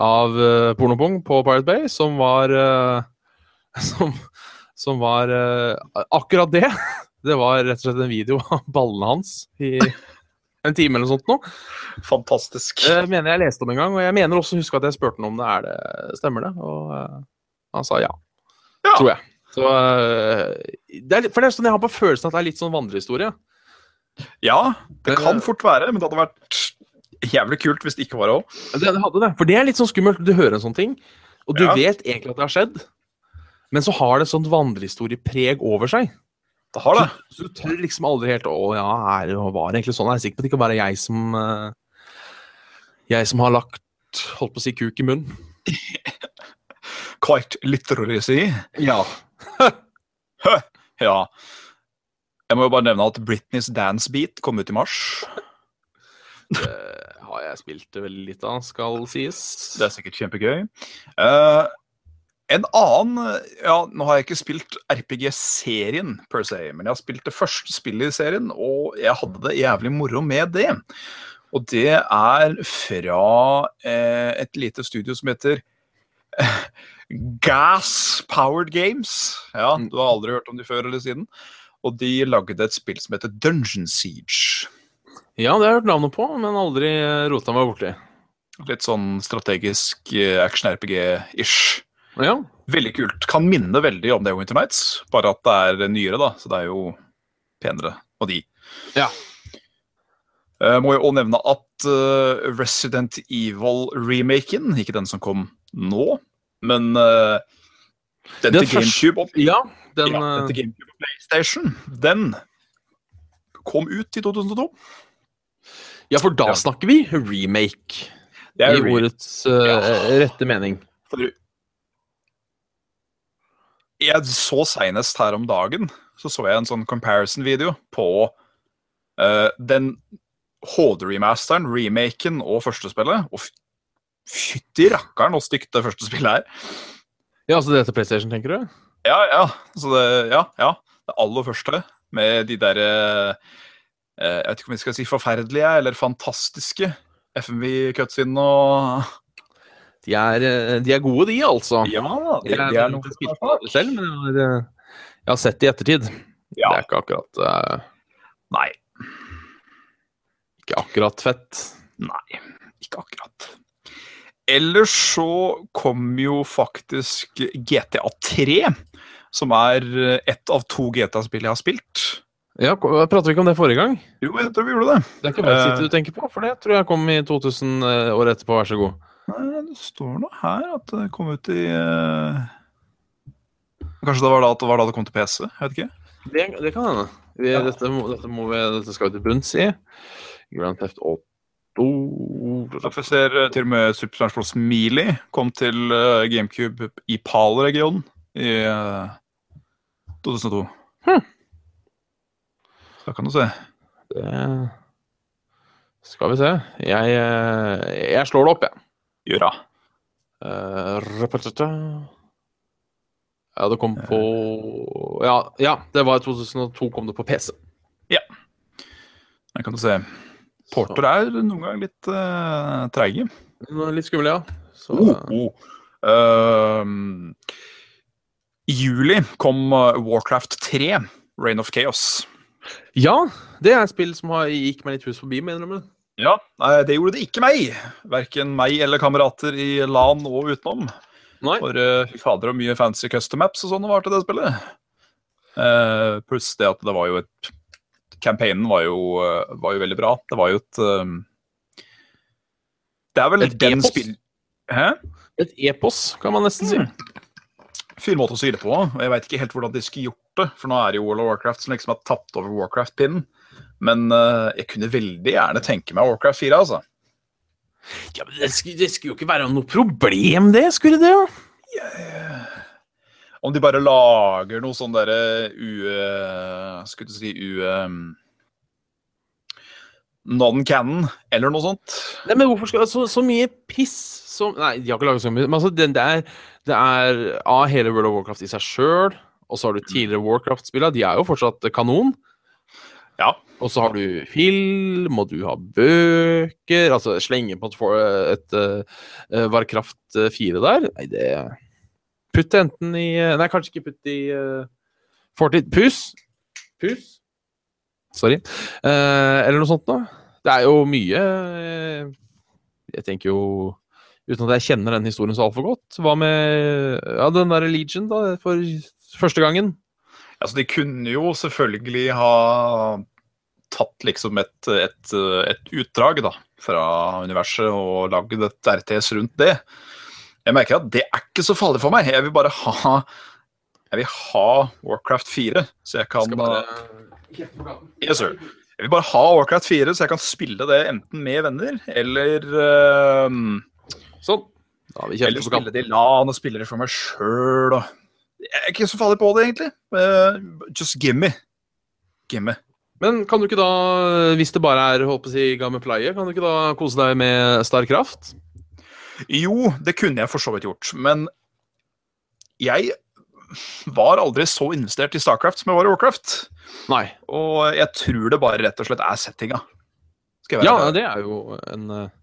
av eh, Pornopung på Pirate Bay som var eh, [LAUGHS] som, som var eh, akkurat det. [LAUGHS] Det var rett og slett en video [LAUGHS] av ballene hans i en time eller noe sånt. Nå.
Fantastisk.
Det mener jeg leste om en gang, og jeg mener også å huske at jeg spurte han om det er det stemmer. det, Og eh, han sa ja.
Ja.
Tror jeg. Så, eh, det er, litt- for det er sånn jeg har på følelsen at det er litt sånn vandrehistorie.
Ja, det
Eh,
kan fort være, men det hadde vært jævlig kult hvis det ikke var det òg.
Det, det hadde det. For det er litt sånn skummelt. Du hører en sånn ting, og du
Ja.
vet egentlig at det har skjedd, men så har det et sånt vandrehistoriepreg over seg.
Det har det.
Så du tør liksom aldri helt Å ja, er det, var det egentlig sånn? Jeg er sikker på at det ikke bare er jeg som eh, Jeg som har lagt Holdt på å si kuk i
[LAUGHS]
munnen.
Kvart litterary si.
Ja.
[LAUGHS] Ja. Jeg må jo bare nevne at Britneys Dance Beat kom ut i mars.
Det har jeg spilt veldig litt av, skal sies.
Det er sikkert kjempegøy. Eh, en annen Ja, nå har jeg ikke spilt RPG-serien per se, men jeg har spilt det første spillet i serien, og jeg hadde det jævlig moro med det. Og det er fra eh, et lite studio som heter [LAUGHS] Gas Powered Games. Ja, du har aldri hørt om de før eller siden. Og de lagde et spill som heter Dungeon Siege.
Ja, det har jeg hørt navnet på, men aldri eh, rota meg borti.
Litt sånn strategisk eh, action-RPG-ish.
Ja.
Veldig kult. Kan minne veldig om det Winter Nights, bare at det er nyere, da. Så det er jo penere. Og de.
Ja.
Eh, må jo òg nevne at eh, Resident Evil-remaken, ikke den som kom nå, men eh, Den
Den
til GameCube og
Ja, den, eh,
ja, den til GameCube og PlayStation, den kom ut i 2002.
eh, ja, for da
Ja.
snakker vi remake,
Det er
i
remake.
ordets eh, rette mening.
For- Jeg så senest her om dagen så så jeg en sånn comparison-video på eh, den HD-remasteren, remaken og første spillet. Og fy- fytti rakkeren hvor stygt det første spillet er.
Ja, altså det til PlayStation, tenker du?
Ja, ja. Så det, ja, ja. det aller første med de derre Jeg vet ikke om vi skal si forferdelige eller fantastiske FMV-cutsene og
De er, eh, de er gode, de, altså.
Ja, det,
Jeg
det er noe
spilt på det selv, men jeg har, eh, jeg har sett det i ettertid. Det
Ja.
er ikke akkurat, eh,
Nei.
ikke akkurat fett.
Nei, ikke akkurat. Ellers så kom jo faktisk GTA 3, som er ett av to GTA-spill jeg har spilt.
Ja, ko- Prater vi ikke om det forrige gang?
Jo, jeg tror vi gjorde det.
Det er ikke Vice City
Eh.
du tenker på, for det tror jeg kom i 2000 eh, år etterpå, vær så god.
Nei, det står nå her at det kom ut i eh, Kanskje det var da det, var da det kom til PC? Jeg vet ikke.
Det, det kan hende. Vi,
Ja.
dette, må, dette, må vi, dette skal vi til bunns i. Grand Theft Auto
Jeg ser eh, til og med Super Smash Bros. Melee kom til eh, GameCube i PAL-regionen i eh, 2002.
Hm.
Da kan du se.
det, Skal vi se. Jeg, eh, jeg slår det opp, jeg.
Gjør da.
Eh, rapatata. Ja, det kom på Ja, ja det var i 2002 kom det på PC.
Der kan du se. Porter er noen ganger litt uh, treige. Oh,
Så, nå er det litt skummel, ja. Så,
Ehm, I juli kom eh, Warcraft 3, Rain of Chaos.
ja, det er et spill som har, gikk meg litt hus forbi, må jeg innrømme.
Ja, Nei, det gjorde det ikke meg. Verken meg eller kamerater i LAN og utenom.
Nei.
For eh, fy fader og mye fancy custom maps og sånn det var til det spillet. Eh, pluss det at det var jo et Campaignen var jo, eh, var jo veldig bra. Det var jo et eh, Det er vel
Et
et den
epos?
spill... Hæ?
Et epos, kan man nesten si.
Mm. Fin måte å si det på. og Jeg veit ikke helt hvordan de skulle gjort det. For nå er det jo World of Warcraft som liksom har tapt over Warcraft-pinnen. Men eh, jeg kunne veldig gjerne tenke meg Warcraft 4, altså.
Ja, men det skulle, det skulle jo ikke være noe problem, det, skulle det? jo?
Eh, Om de bare lager noe sånn derre u... Skulle du si u... eh, em, Non-canon, eller noe sånt.
Nei, men hvorfor skal altså, så, så mye piss som Nei, de har ikke laget så mye, men altså, det, det, er, det er av hele World of Warcraft i seg sjøl, og så har du tidligere Warcraft-spillene, de er jo fortsatt kanon.
Ja.
Og så har du film, og du har bøker Altså slenge på et, for- et eh, Warcraft 4 der Nei, det Putt det enten i eh, Nei, kanskje ikke putt det i eh, Fortid. Pus! Pus? Sorry. Eh, eller noe sånt noe. Det er jo mye eh, Jeg tenker jo Uten at jeg kjenner den historien så altfor godt. Hva med ja, den der Legion, da, for første gangen?
Altså, de kunne jo selvfølgelig ha tatt liksom et, et, et utdrag da, fra universet og lagd et RTS rundt det. Jeg merker at det er ikke så farlig for meg. Jeg vil bare ha jeg vil ha Warcraft 4, så jeg kan
Skal
eh, Yes, sir. Jeg vil bare ha Warcraft 4, så jeg kan spille det enten med venner eller eh,
Sånn. Da har vi
eller
kjempet på kamp.
spille det i LAN og spille det for meg sjøl og Jeg er ikke så farlig på det, egentlig. Eh, just gimme. Gimme.
Men kan du ikke da, eh, hvis det bare er holdt på å si, gammel pleie, kan du ikke da kose deg med Starkraft?
Jo, det kunne jeg for så vidt gjort, men jeg var aldri så investert i Starcraft som jeg var i Warcraft.
Nei.
Og jeg tror det bare rett og slett er settinga. Skal jeg
Ja,
være ærlig.
det er jo en eh,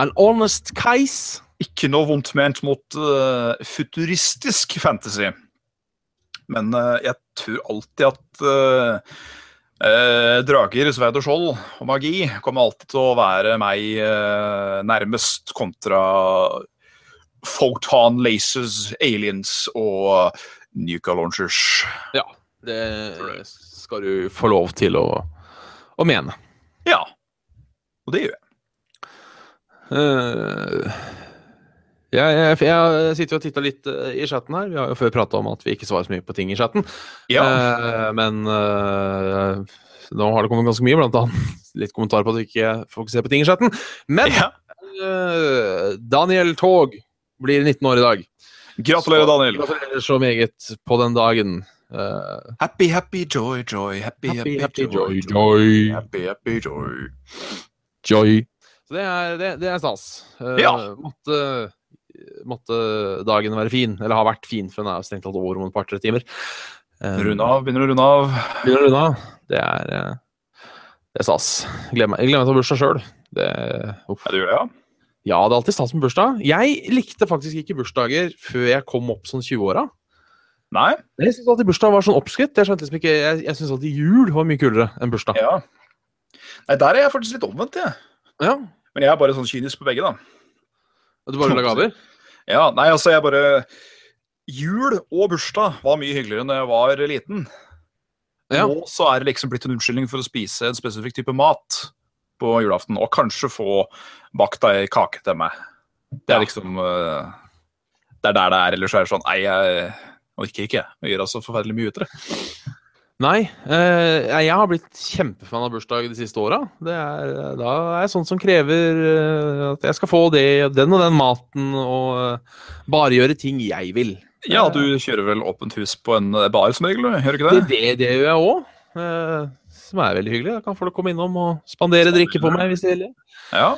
An honest case.
Ikke noe vondt ment mot eh, futuristisk fantasy. Men eh, jeg tror alltid at eh, eh, drager, sverd og skjold og magi kommer alltid til å være meg eh, nærmest kontra photon lasers, aliens og eh, nuka launchers.
Det skal du få lov til å, å mene.
Ja, og det gjør jeg.
Eh, Jeg, jeg, jeg sitter jo og titter litt eh, i chatten her. Vi har jo før prata om at vi ikke svarer så mye på ting i chatten. Eh, men eh, nå har det kommet ganske mye, blant annet [LAUGHS] litt kommentar på at vi ikke fokuserer på ting i chatten. Men
ja.
eh, Daniel Tog blir 19 år i dag.
Gratulerer,
Så-
Daniel.
Gratulerer så meget på den dagen. Eh,
Happy, happy, joy, joy. Happy, happy, happy, joy, joy.
joy.
Happy, happy, joy.
Joy. Så det er, det, det er stas. Eh,
Ja.
måtte, måtte dagen være fin. Eller har vært fin, for den er jo strengt tatt over om et par-tre timer. Eh,
Rund av, begynner å runde av.
begynner å runde av. Det er, eh, det er stas. Gleder meg jeg gleder meg til å ha bursdag sjøl. Ja,
Ja, du gjør det, ja?
det er alltid stas med bursdag. Jeg likte faktisk ikke bursdager før jeg kom opp sånn 20-åra.
Nei?
Jeg syntes alltid bursdag var sånn oppskritt. Jeg, skjønte liksom ikke, jeg, jeg syntes alltid jul var mye kulere enn bursdag.
Ja. Nei, der er jeg faktisk litt omvendt, jeg.
Ja.
Men jeg er bare sånn kynisk på begge, da.
Og Du bare rulla gaver?
Ja, nei, altså, jeg bare Jul og bursdag var mye hyggeligere enn da jeg var liten.
Ja.
Nå så er det liksom blitt en unnskyldning for å spise en spesifikk type mat på julaften, og kanskje få bakt ei kake til meg. Det
Ja.
er liksom eh, Det er der det er. Ellers er det sånn Nei, jeg orker ikke. Jeg gjør altså forferdelig mye ut av det.
Nei. Eh, jeg har blitt kjempefan av bursdag de siste åra. Det er- Da er jeg sånn som krever eh, at jeg skal få det, den og den maten, og eh, bare gjøre ting jeg vil.
Ja, du kjører vel åpent hus på en bar som regel, gjør du ikke
Eh. Det,
det?
det, det gjør jeg òg, eh, som er veldig hyggelig. Da kan folk komme innom og spandere drikke på meg hvis de vil. det.
Ja.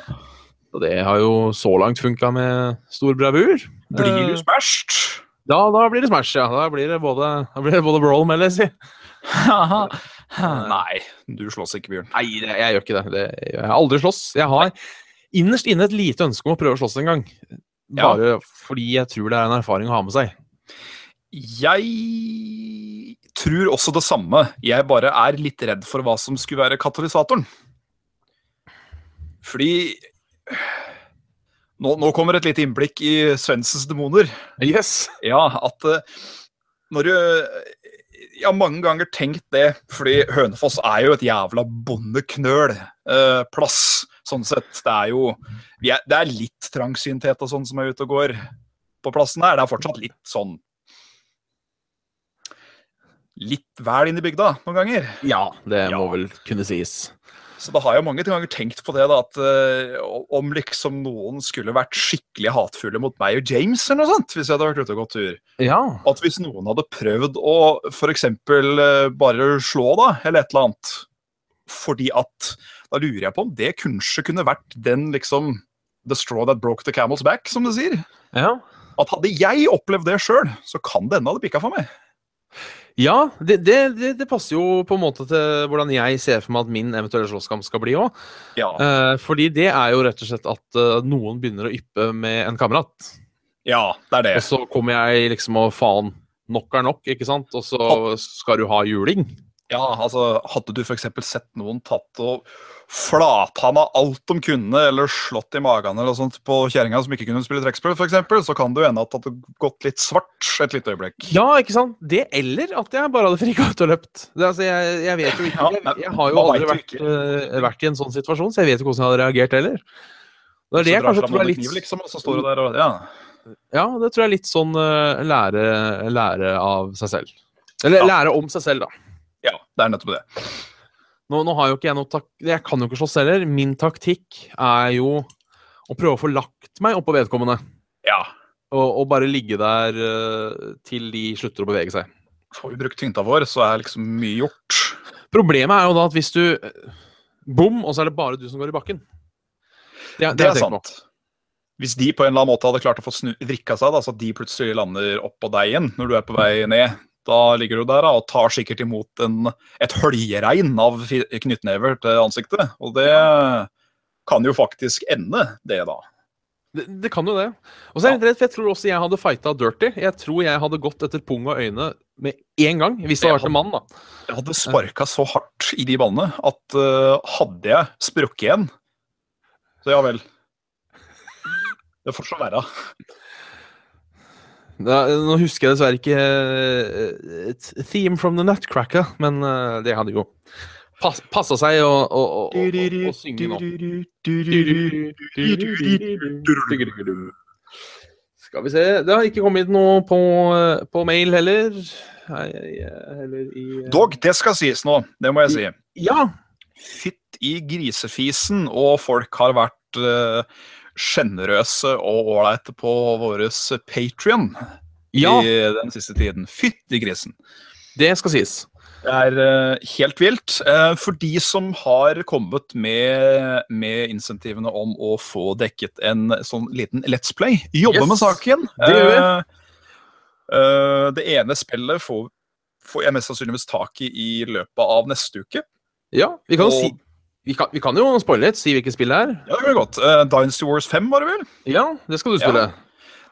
Og det har jo så langt funka med stor bravur.
Blir
Eh,
du smashed?
Da, da blir det smash, ja. Da blir det både, da blir det både brawl, melder jeg si.
Eh, Nei, du slåss ikke, Bjørn.
Nei, det, jeg gjør ikke det. det gjør jeg har aldri slåss. Jeg har innerst inne et lite ønske om å prøve å slåss en gang.
Ja.
Bare fordi jeg tror det er en erfaring å ha med seg.
Jeg tror også det samme. Jeg bare er litt redd for hva som skulle være katalysatoren. Fordi nå, nå kommer et lite innblikk i Svendsens demoner.
Yes!
[LAUGHS] Ja, at eh, når du Jeg har mange ganger tenkt det, fordi Hønefoss er jo et jævla bondeknøl-plass, sånn sett. Det er jo vi er, Det er litt trangsynthet og sånn som er ute og går på plassen her. Det er fortsatt litt sånn Litt vel inn i bygda noen ganger.
Ja, det
Ja.
må vel kunne sies.
Så da har jeg mange ganger tenkt på det, da, at eh, om liksom noen skulle vært skikkelig hatefulle mot meg og James eller noe sånt, hvis jeg hadde vært ute og gått tur.
Ja.
At hvis noen hadde prøvd å f.eks. bare slå, da, eller et eller annet Fordi at Da lurer jeg på om det kanskje kunne vært den liksom The straw that broke the camel's back, som du sier.
Ja,
At hadde jeg opplevd det sjøl, så kan det hende det hadde pikka for meg.
ja det, det, det, det passer jo på en måte til hvordan jeg ser for meg at min eventuelle slåsskamp skal bli òg.
Ja.
Eh, fordi det er jo rett og slett at eh, noen begynner å yppe med en kamerat.
ja, det er det.
Og så kommer jeg liksom og faen, nok er nok, ikke sant? Og så skal du ha juling.
Ja, altså, Hadde du f.eks. sett noen tatt og flathanna alt de kunne, eller slått i magen eller noe sånt på kjerringa som ikke kunne spille trekkspill, f.eks., så kan det jo hende at det hadde gått litt svart et lite øyeblikk.
Ja, ikke sant? Det eller at jeg bare hadde frika ut og løpt. Det, altså, jeg, jeg vet jo ikke
Ja,
Jeg,
men
jeg har jo
man
aldri
vet
vært,
jo
eh, vært i en sånn situasjon, så jeg vet jo ikke hvordan jeg hadde reagert heller. Det er det jeg kanskje tror er litt
liksom, og så står du der og Ja.
Ja, det tror jeg er litt sånn eh, lære, lære av seg selv. Eller
Ja.
lære om seg selv, da.
ja det er nettopp det.
Nå, nå har jo ikke jeg noe tak... Jeg kan jo ikke slåss heller. Min taktikk er jo å prøve å få lagt meg oppå vedkommende.
Ja.
Og, og bare ligge der eh, til de slutter å bevege seg.
Får vi brukt tyngda vår, så er liksom mye gjort.
Problemet er jo da at hvis du eh, Bom, og så er det bare du som går i bakken. Det,
Det
har
er
jeg tenkt på.
sant. Hvis de på en eller annen måte hadde klart å få snu, vrikka seg, da, så at de plutselig lander oppå deg igjen når du er på vei ned, da ligger du der da, og tar sikkert imot en, et høljeregn av fi- knyttnever til ansiktet. Og det kan jo faktisk ende, det, da.
Det, det kan jo det. Og så er jeg litt redd, for jeg tror også jeg hadde fighta dirty. Jeg tror jeg hadde gått etter pung og øyne med en gang, hvis det hadde vært en mann, da.
Jeg hadde sparka så hardt i de ballene at eh, hadde jeg sprukket igjen Så ja vel. Det får så være.
Da, nå husker jeg dessverre ikke eh, et Theme from the Nutcracker, men eh, det hadde jo pass, passa seg å, å, å, å, å, å synge nå.
Du-du-du-du-du-du-du-du-du-du-du-du.
Skal vi se Det har ikke kommet noe på, eh, på mail heller. Nei, eh, heller i eh,
Dog, det skal sies nå. Det må jeg si.
Ja!
Fytt i grisefisen, og folk har vært eh, sjenerøse og ålreite på vår Patrion
Ja,
i den siste tiden. Fytt i grisen.
det skal sies.
Det er eh, helt vilt. Eh, for de som har kommet med, med insentivene om å få dekket en sånn liten Let's Play, jobbe
Yes,
med saken.
det gjør
Eh, eh, det ene spillet får, får jeg mest sannsynligvis tak i i løpet av neste uke.
Ja, vi kan,
Og-
jo si, vi kan, vi kan jo spoile litt, si hvilket spill det er.
Ja, det kan vi godt. Eh, Dynasty Wars 5, var det vel?
Ja, det skal du
Ja.
spille.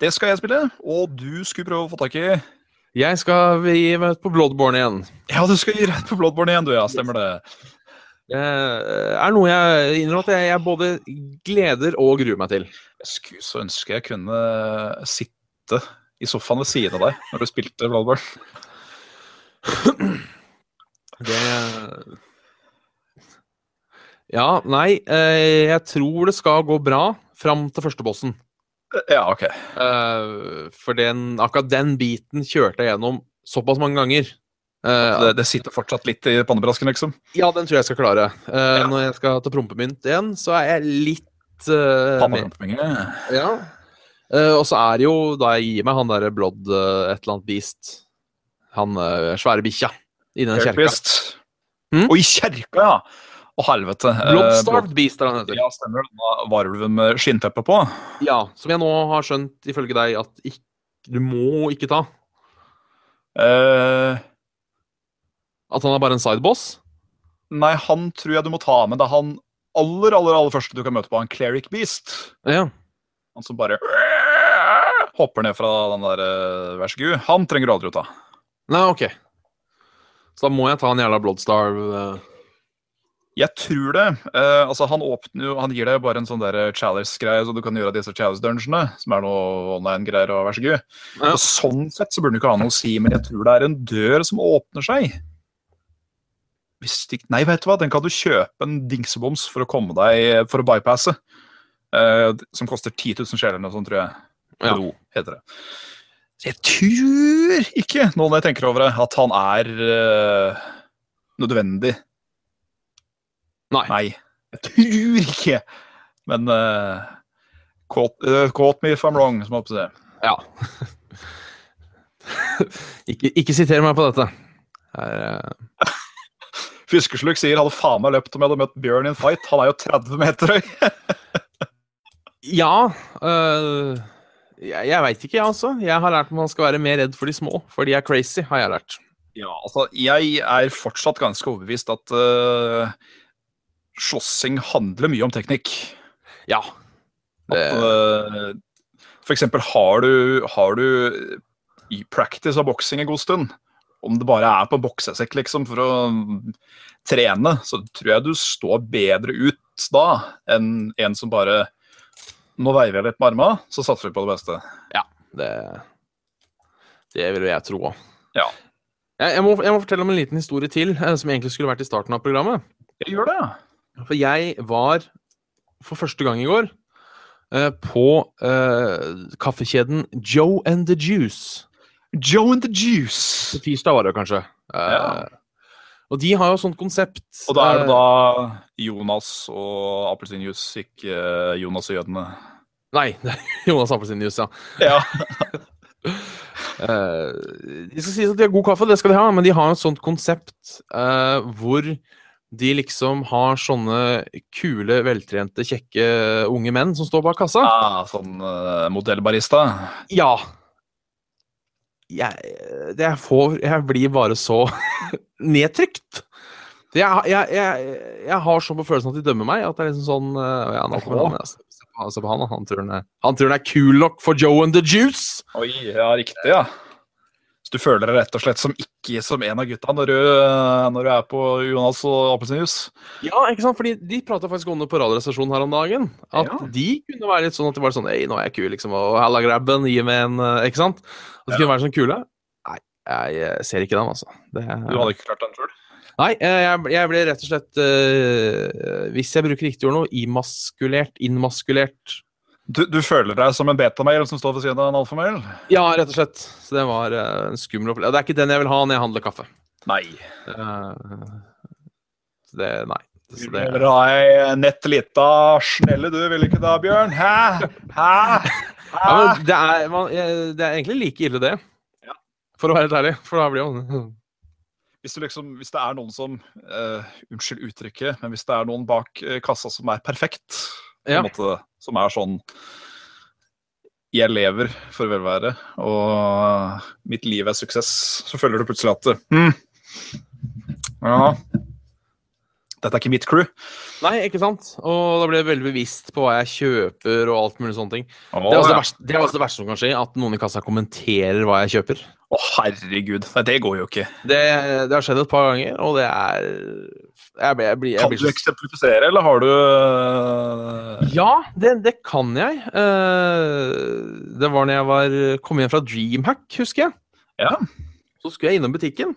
Det skal jeg spille, og du skulle prøve å få tak i
Jeg skal gi meg ut på Bloodborne igjen.
Ja, du skal gi rett på Bloodborne igjen, du, ja. Stemmer det.
Det eh, er noe jeg innrømmer at jeg, jeg både gleder og gruer meg til.
Jeg skulle så ønske jeg kunne sitte i sofaen ved siden av deg når du spilte Bloodborne.
Det Ja, nei, eh, jeg tror det skal gå bra fram til første bossen.
Ja, ok.
Eh, For den, akkurat den biten kjørte jeg gjennom såpass mange ganger. Eh,
Det, det sitter fortsatt litt i pannebrasken, liksom.
Ja, den tror jeg skal klare. Eh,
Ja.
Når jeg skal ta prompemynt igjen, så er jeg litt eh, mer-
Pannebrasken.
Ja. Eh, og så er det jo da jeg gir meg han derre Blood eh, et eller annet beast Han eh, svære bikkja i den kjerka.
Hellquist.
Hm?
Og i kjerka, ja! Å, helvete. Eh,
Bloodstarved beast er han heter.
Ja, stemmer det. Da var ulven med skinnteppe på.
Ja, som jeg nå har skjønt ifølge deg at ikk- du må ikke ta.
Eh,
At han er bare en sideboss.
nei, han tror jeg du må ta med. Det er han aller, aller, aller første du kan møte på. Han Cleric Beast.
Ja.
Han som bare hopper ned fra den der eh, Vær så god. Han trenger du aldri å ta.
Nei, OK. Så da må jeg ta en jævla eh. Bloodstarv
Jeg tror det. Eh, altså Han åpner jo, han gir deg jo bare en sånn der challenge-greie, så du kan gjøre disse challenge-dungeonene, som er noe online-greier, og vær så god.
Ja.
Og Sånn sett så burde du ikke ha noe å si, men jeg tror det er en dør som åpner seg. Hvis ikke, nei, vet du hva, den kan du kjøpe en dingseboms for å komme deg for å bypasse. eh, som koster 10 000 sjeler eller noe sånt, tror jeg.
Ja.
Ro, heter det. Så jeg tror ikke, nå når jeg tenker over det, at han er eh, nødvendig.
Nei.
Nei, jeg tror ikke. Men uh, quote, eh, quote me if I'm wrong, som jeg håper å si.
Ja. ikke, ikke siter meg på dette. Her, eh,
Fiskesluk sier hadde faen meg løpt om jeg hadde møtt Bjørn i en fight. Han er jo 30 meter høy.
ja eh, Jeg, jeg veit ikke, jeg, altså. Jeg har lært at man skal være mer redd for de små, for de er crazy, har jeg lært.
Ja, altså, jeg er fortsatt ganske overbevist at eh, slåssing handler mye om teknikk.
Ja. Det,
Eh, for eksempel har du, har du i practice av boksing en god stund, om det bare er på boksesekk liksom for å mm, trene, så tror jeg du står bedre ut da enn en som bare nå veiver jeg litt med armene, så satser vi på det beste.
det, det vil jo jeg tro òg.
Ja.
Jeg, jeg, må, jeg må fortelle om en liten historie til, eh, som egentlig skulle vært i starten av programmet.
Jeg gjør det.
For jeg var for første gang i går eh, på eh, kaffekjeden Joe and the Juice.
Joe and the Juice.
På tirsdag var det kanskje. Eh,
Ja.
Og de har jo sånt konsept.
Og da er det
eh,
da Jonas og appelsinjuice, ikke eh, Jonas og jødene.
eh, Nei, [LAUGHS] det er Jonas Appelsinjuice, ja.
Ja.
[LAUGHS] Eh, de skal sies at de har god kaffe, det skal de ha, men de har et sånt konsept eh, hvor de liksom har sånne kule, veltrente, kjekke unge menn som står bak kassa.
Ah, sånn eh, modellbarista.
Ja. Jeg, jeg, får, jeg blir bare så [LAUGHS] nedtrykt. Jeg, jeg, jeg, jeg har så på følelsen at de dømmer meg. At det er liksom sånn eh, ja, nå kommer han, ja, se- se på han- Se på han, da. han tror han er, han tror han er kul nok for Joe and the Juice!
Oi, ja, riktig, ja. Så du føler deg rett og slett som ikke som en av gutta når du, eh, når du er på Jonas og appelsinjuice?
Ja, ikke sant? Fordi De prata faktisk om det på Radioresepsjonen her om dagen. At
Ja.
de kunne være litt sånn at de var sånn Ei, nå er jeg kul, liksom. Og halla grabben, gi meg en eh, Ikke sant? At de kunne være sånn kule. Nei, jeg eh, ser ikke dem, altså. Det,
Du hadde ikke klart den sjøl?
Nei, eh, jeg, jeg ble rett og slett eh, Hvis jeg bruker riktig ord nå, imaskulert, innmaskulert
Du, du føler deg som en betamail som står ved siden av en alfamail?
Ja, rett og slett. Så det var eh, en skummel opplevelse. Det er ikke den jeg vil ha når jeg handler kaffe.
Nei.
Eh, så det Nei. Så
Du
det,
vil ha ei nett lita snelle, du, vil ikke da, Bjørn? Hæ? Hæ? Hæ?
ja, men det, er, man, jeg- det er egentlig like ille, det.
Ja.
For å være helt ærlig. For da blir jo
Hvis, du liksom, hvis det er noen som eh, Unnskyld uttrykket, men hvis det er noen bak eh, kassa som er perfekt, på
[LAUGHS] Ja.
en måte, som er sånn Jeg lever for velvære, og mitt liv er suksess, så føler du plutselig at hm, Ja, dette er ikke mitt crew.
Nei, ikke sant? Og da blir jeg veldig bevisst på hva jeg kjøper og alt mulig sånne ting.
Å,
Det er, også
ja.
det, verste, det er også det verste som kan skje, at noen i kassa kommenterer hva jeg kjøper.
Å, herregud. Nei, det går jo ikke.
Det, det har skjedd et par ganger, og det er Jeg, blir- jeg blir, jeg
Kan
blir
du eksemplifisere, eller har du eh,
Ja, det, det kan jeg. Eh, Det var når jeg var, kom hjem fra Dreamhack, husker jeg.
Ja.
Så skulle jeg innom butikken,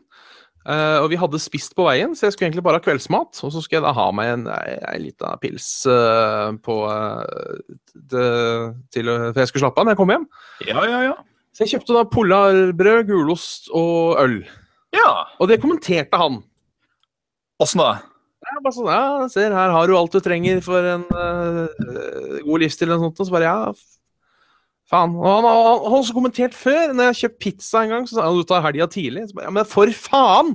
eh, og vi hadde spist på veien, så jeg skulle egentlig bare ha kveldsmat. Og så skulle jeg da ha meg en, ei, ei lita pils eh, på, eh, det, til, for jeg skulle slappe av når jeg kom hjem.
Ja, ja, ja.
Så jeg kjøpte da polarbrød, gulost og øl.
Ja,
Og det kommenterte han.
Åssen da?
Ja, bare sånn, ja, ser, her har du alt du trenger for en eh, god livsstil eller noe sånt. Og så bare, ja, f- faen. Og han har han har også kommentert før, når jeg har kjøpt pizza en gang, så sa han, du tar helga tidlig. Så bare, ja, men for faen!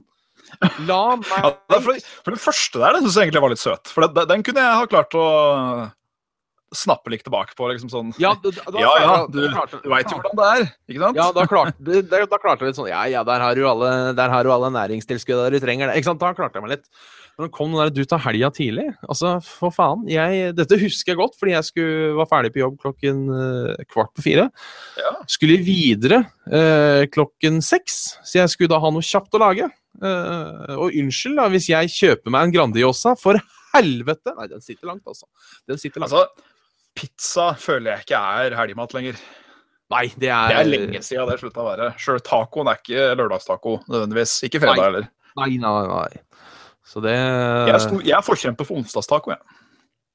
La meg
[LAUGHS] Ja, det er for, for det første der, det syns jeg egentlig var litt søt. For det, det- den kunne jeg ha klart å snappe litt tilbake på. liksom sånn.
Ja, da, da, da,
Ja, ja,
da- da klarte-
Du veit jo hvordan det er, ikke sant?
Ja, da klarte, det- det- da klarte jeg litt sånn Ja, ja, der har du alle, der har du alle næringstilskuddene du trenger. det», Ikke sant? Da klarte jeg meg litt. Men det kom den der 'du tar helga tidlig'. Altså, for faen. Jeg, dette husker jeg godt, fordi jeg skulle, var ferdig på jobb klokken eh, kvart på fire.
Ja.
Skulle videre eh, klokken seks, så jeg skulle da ha noe kjapt å lage. Eh, og unnskyld da, hvis jeg kjøper meg en Grandiosa, for helvete! Nei, den sitter langt, altså. Den sitter langt.
Altså, pizza føler jeg ikke er helgemat lenger.
Nei, det er,
Det er lenge siden det slutta å være. Sjøl tacoen er ikke lørdagstaco nødvendigvis. Ikke fredag
Nei.
heller.
Nei, nei, nei. Så det
Jeg, er stor- jeg er forkjemper for onsdagstaco, jeg.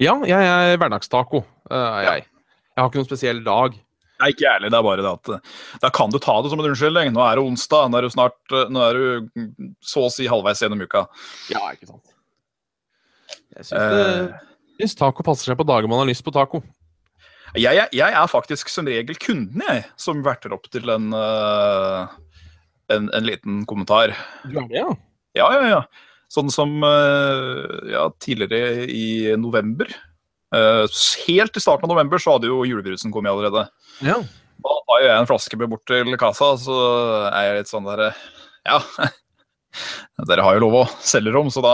Ja, jeg er hverdagstaco. eh, er jeg. jeg har ikke noen spesiell dag.
Nei, ikke ærlig, det er bare det at eh, da kan du ta det som en unnskyldning. Nå er det onsdag, nå er du snart eh, Nå er du mm, så å si halvveis gjennom uka.
Ja, ikke sant. Jeg syns,
Eh.
det, jeg syns taco passer seg på dager man har lyst på taco.
Jeg, jeg, jeg er faktisk som regel kunden, jeg, som verter opp til en, eh, en, en liten kommentar.
Du er det, ja?
Ja, ja, ja. Sånn som eh, ja, tidligere i november. eh, helt i starten av november så hadde jo julebrusen kommet allerede.
Ja.
Da tar jo jeg en flaske med bort til kassa, så er jeg litt sånn der eh, Ja. [LAUGHS] Dere har jo lov å selge rom, så da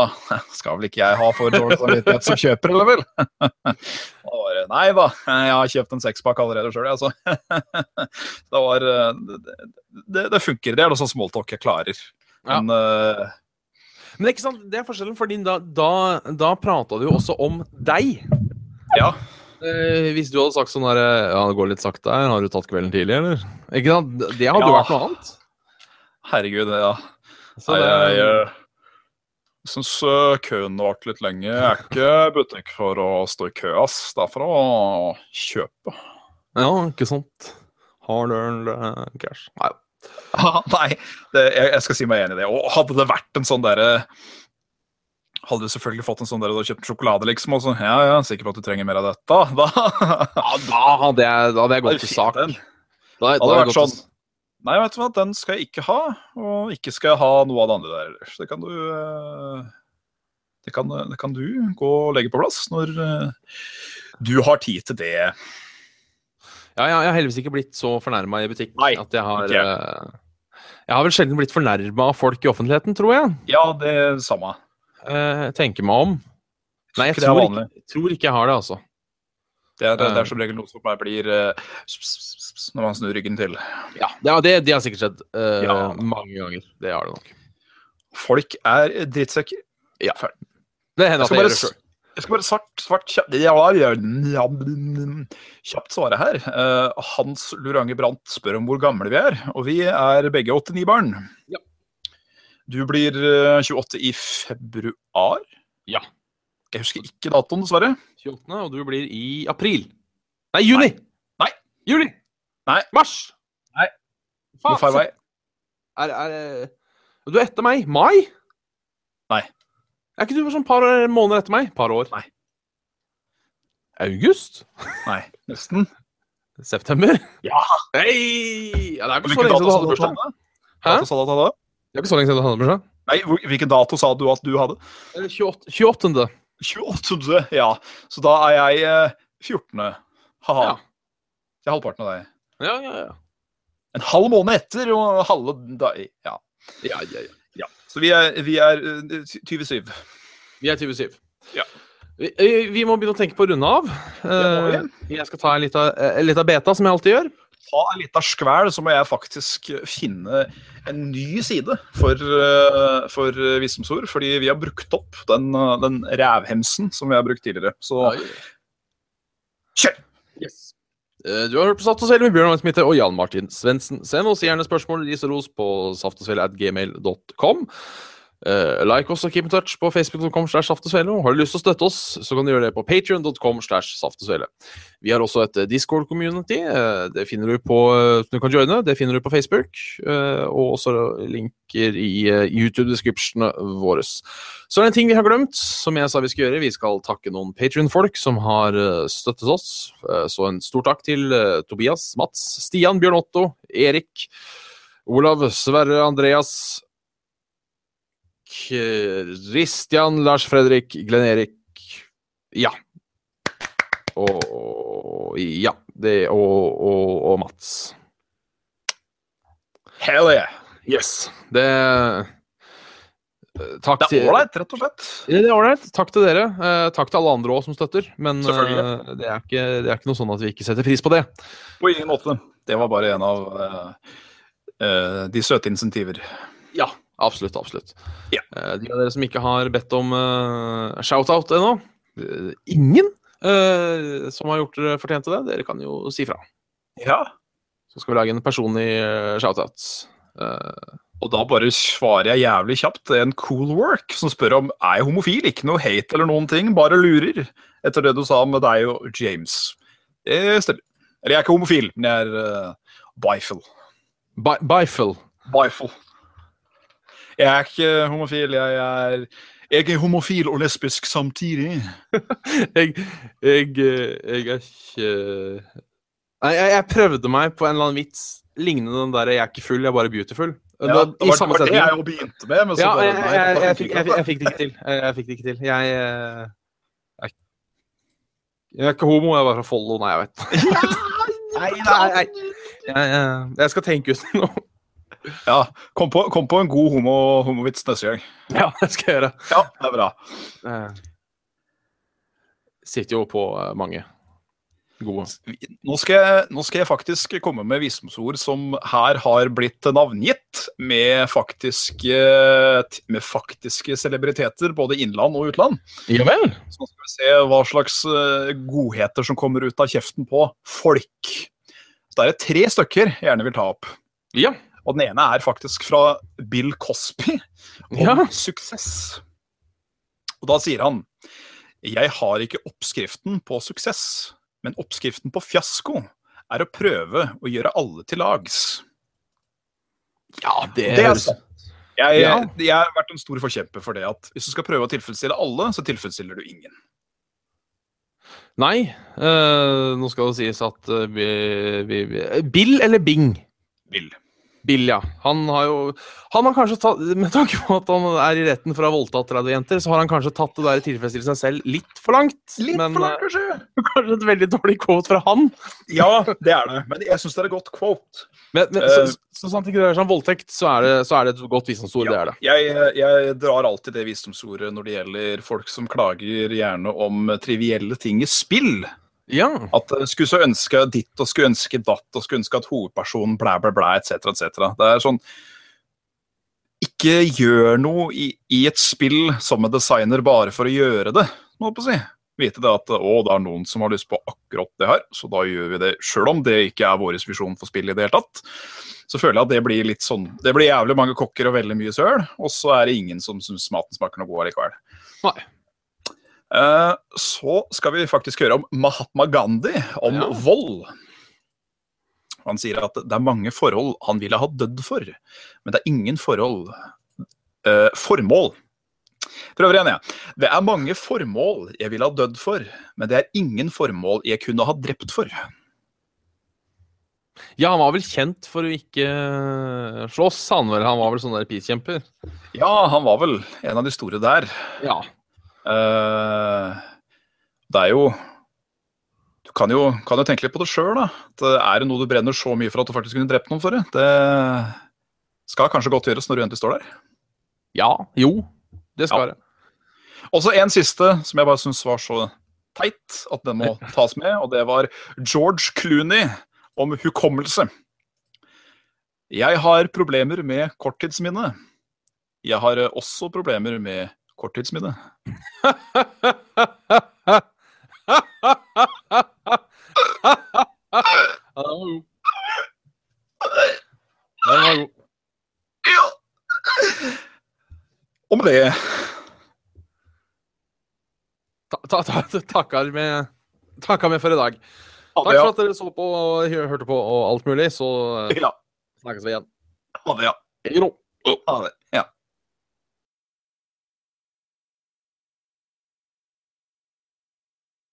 skal vel ikke jeg ha for dårlig samvittighet som kjøper, eller vel? Da var det Nei da, jeg har kjøpt en sekspakk allerede sjøl, jeg, så [LAUGHS] det var eh, det, det, det funker. Det er noe sånn smalltalk jeg klarer.
Ja.
Men eh,
Men ikke sant, det er forskjellen, for da, da, da prata du jo også om deg.
ja.
Eh, hvis du hadde sagt sånn her eh, Ja, det går litt sakte her. Har du tatt kvelden tidlig, eller? Ikke sant? Det hadde jo
Ja.
vært noe annet.
Herregud, ja.
Så det,
jeg jeg, jeg syns køen varte litt lenge. Jeg er ikke butikk for å stå i kø, ass. Det er for å [LAUGHS] kjøpe.
ja, ikke sant. Hard earned eh, cash. Nei.
Nei, det, jeg, jeg skal si meg enig i det. Og hadde det vært en sånn derre Hadde du selvfølgelig fått en sånn der du har kjøpt sjokolade, liksom, og sånn Ja, ja, sikker på at du trenger mer av dette? Da [LAUGHS]
Ja, da hadde jeg, da hadde jeg gått til sak. Da,
Den.
da
Hadde
jeg
vært
gått til-
sånn. Nei, vet du hva, den skal jeg ikke ha. Og ikke skal jeg ha noe av det andre der heller. Så det kan du eh, det kan, det kan du gå og legge på plass når eh, du har tid til det.
Ja, jeg, jeg har heldigvis ikke blitt så fornærma i butikk
Nei,
at jeg har
ikke jeg.
eh, Jeg har vel sjelden blitt fornærma av folk i offentligheten, tror jeg.
Ja, det er det samme.
Eh, tenker meg om. Nei, jeg
Ikke det er
tror ikke,
vanlig.
jeg tror ikke jeg har det, altså.
Det er, det, det er som regel noe som bare blir eh, når man snur ryggen til.
Ja, det, det, det har sikkert skjedd eh,
Ja.
mange ganger. Det har det nok.
Folk er drittsekker.
Ja.
Ferdig.
Det hender at jeg
Jeg skal
gjør
bare,
det sjøl.
s- jeg skal bare svart, svart kjapt, ja, ja, ja, mm, kjapt svare her. Eh, Hans Lurange Brandt spør om hvor gamle vi er, og vi er begge 89 barn.
Ja.
Du blir eh, 28 i februar?
Ja.
Jeg husker ikke datoen, dessverre.
28., og du blir i april. Nei, juni!
Nei.
Juli!
Nei.
Mars!
Nei.
Faen,
Hvor far vei?
Er, er, er du er etter meg? Mai?
Nei.
Er ikke du bare sånn par måneder etter meg? Par år?
Nei.
August?
Nei, nesten.
September?
Ja.
Hei! Ja, det er ikke så
Hvilken
lenge siden du hadde
dato sa du at du
bursdag.
hadde?
Hæ?
Dato sa du at du hadde?
Det er ikke så lenge siden du hadde bursdag.
Nei, hvor- hvilken dato sa du at du hadde?
Eller 28. 28.
28. Ja. Så da er jeg eh, 14. Ha-ha.
Ja.
Jeg er halvparten av deg.
Ja, ja, ja.
En halv måned etter og halve da, ja.
ja, ja, ja.
Så vi er, vi er eh, 27.
Vi er 27.
Ja.
Vi, vi- vi må begynne å tenke på å runde av.
Det
Eh, jeg skal ta en lita, eh, lita beta, som jeg alltid gjør.
Ta en liten skvæl, så må jeg faktisk finne en ny side for, eh, for eh, visdomsord. Fordi vi har brukt opp den, eh, den rævhemsen som vi har brukt tidligere. Så kjør!
Yes. Eh, Du har hørt på Saft og Svele med Bjørn Arne Smitte og Jan Martin Svendsen. Send oss gjerne spørsmål, ris og ros på saftogsvele.gmail.com. Eh, like oss og keep in touch på facebook.com slash saftogsvele. Og har du lyst til å støtte oss, så kan du gjøre det på patrion.com slash saftogsvele. Vi har også et eh, Discord-community. eh, Det finner du på eh, som du kan joine. Det finner du på Facebook. eh, Og også linker i eh, YouTube-descriptionene våre. Så er det en ting vi har glemt, som jeg sa vi skulle gjøre. Vi skal takke noen Patrion-folk som har eh, støttet oss. Eh, Så en stor takk til eh, Tobias, Mats, Stian, Bjørn Otto, Erik, Olav, Sverre, Andreas, Kristian, Lars Fredrik, Glenn Erik Ja. Og Ja. Det, og, og, og Mats.
Hell yeah!
Yes. Det Eh, Takk
Det er ålreit, rett og slett.
Ja, det er ålreit. Takk til dere. Eh, takk til alle andre òg som støtter. Men
Selvfølgelig.
eh, det, er ikke, det er ikke noe sånn at vi ikke setter pris på det.
På ingen måte. Det var bare en av eh, eh, de søte insentiver.
Ja, Absolutt. absolutt.
Ja.
Eh, de av dere som ikke har bedt om eh, shout-out ennå eh, Ingen eh, som har gjort dere fortjent til det. Dere kan jo si fra.
Ja.
Så skal vi lage en personlig eh, shout-out. Eh,
Og da bare svarer jeg jævlig kjapt. Det er en cool work som spør om er jeg homofil. Ikke noe hate eller noen ting, bare lurer. Etter det du sa med deg og James. Det stemmer. Eller jeg er ikke homofil, men jeg er uh, bifil.
bi Bifel. [LAUGHS]
Bifil. Jeg er ikke homofil, jeg er Jeg er homofil og lesbisk samtidig.
jeg, jeg, eh, jeg er ikke Nei, jeg, jeg prøvde meg på en eller annen vits lignende den der 'jeg er ikke full, jeg er bare beautiful'.
Ja,
Da-
det var, det, var det
setningen.
jeg jo begynte med. Men så
Ja,
bare,
jeg,
nei,
jeg, jeg,
da
jeg,
fikk
fikk,
jeg
jeg,
ikke
jeg fikk det ikke til. Jeg, jeg fikk det ikke til. Jeg, eh, jeg, jeg er ikke homo, jeg er bare fra Follo. Nei, jeg vet Nei, nei, nei. Jeg, eh, jeg skal tenke ut [LAUGHS] noe.
det. Ja, kom, på, kom på en god homo, homovits neste gang.
Ja, det skal jeg gjøre.
Ja, det er bra.
Eh, Sitter jo på eh, mange gode.
Nå skal, jeg, nå skal jeg faktisk komme med visdomsord som her har blitt navngitt med faktiske, med faktiske celebriteter, både innland og utland.
Ja vel?
Så nå skal vi se hva slags eh, godheter som kommer ut av kjeften på folk. Så det er tre stykker jeg gjerne vil ta opp.
Ja.
Og den ene er faktisk fra Bill Cosby om
Ja.
suksess. Og da sier han Jeg har ikke oppskriften på suksess, men oppskriften på fiasko er å prøve å gjøre alle til lags.
ja det, altså-
Det er
høres-
sant. Jeg,
Ja.
jeg har vært en stor forkjemper for det at hvis du skal prøve å tilfredsstille alle, så tilfredsstiller du ingen.
Nei. eh, nå skal det sies at eh, vi, vi, vi eh, Bill eller Bing?
Bill.
Bill, ja. Han har jo Han har kanskje tatt Med tanke på at han er i retten for å ha voldtatt 30 jenter, så har han kanskje tatt det der i tilfredsstille seg selv litt for langt. men eh,
kanskje?
kanskje et veldig dårlig quote fra han.
Ja, det er det. Men jeg syns det er et godt quote.
Men, men
Eh,
så, så, så sant ikke det er sånn voldtekt, så er det, så er det et godt visdomsord.
Ja.
Det er det.
Jeg, jeg drar alltid det visdomsordet når det gjelder folk som klager gjerne om trivielle ting i spill.
Ja.
At eh, skulle så ønske ditt og skulle ønske datt og skulle ønske at hovedpersonen blæ, blæ, blæ, etc., etc. Det er sånn Ikke gjør noe i, i et spill som en designer bare for å gjøre det, må jeg på å si. Vite det at å, det er noen som har lyst på akkurat det her, så da gjør vi det. Sjøl om det ikke er vår visjon for spillet i det hele tatt. Så føler jeg at det blir litt sånn Det blir jævlig mange kokker og veldig mye søl, og så er det ingen som syns maten smaker noe god allikevel.
Nei.
Eh, Så skal vi faktisk høre om Mahatma Gandhi, om
Ja.
vold. Han sier at det er mange forhold han ville ha dødd for, men det er ingen forhold eh, Formål. Prøver igjen, jeg. Det er mange formål jeg ville ha dødd for, men det er ingen formål jeg kunne ha drept for.
Ja, han var vel kjent for å ikke eh, slåss, han vel. Han var vel sånn der peacekjemper.
Ja, han var vel en av de store der.
Ja.
Eh, det er jo Du kan jo, kan jo tenke litt på det sjøl, da. At eh, er det noe du brenner så mye for at du faktisk kunne drept noen for det? Det skal kanskje godt gjøres når du endelig står der.
Ja. Jo. Det
Ja.
skal det. [LAUGHS]
Og så en siste som jeg bare syns var så teit at den må tas med, og det var George Clooney om hukommelse. Jeg har problemer med korttidsminne. Jeg har eh, også problemer med korttidsminne.
Ja, den var god. Den var god.
Ja. Og med det
Ta, ta, ta, takker med Takker med for i dag. Takk for
hadde jeg
at dere så på og hø- hørte på og alt mulig. Så eh,
Ja.
snakkes vi igjen.
Ha det, ja.
Jo.
Ha det.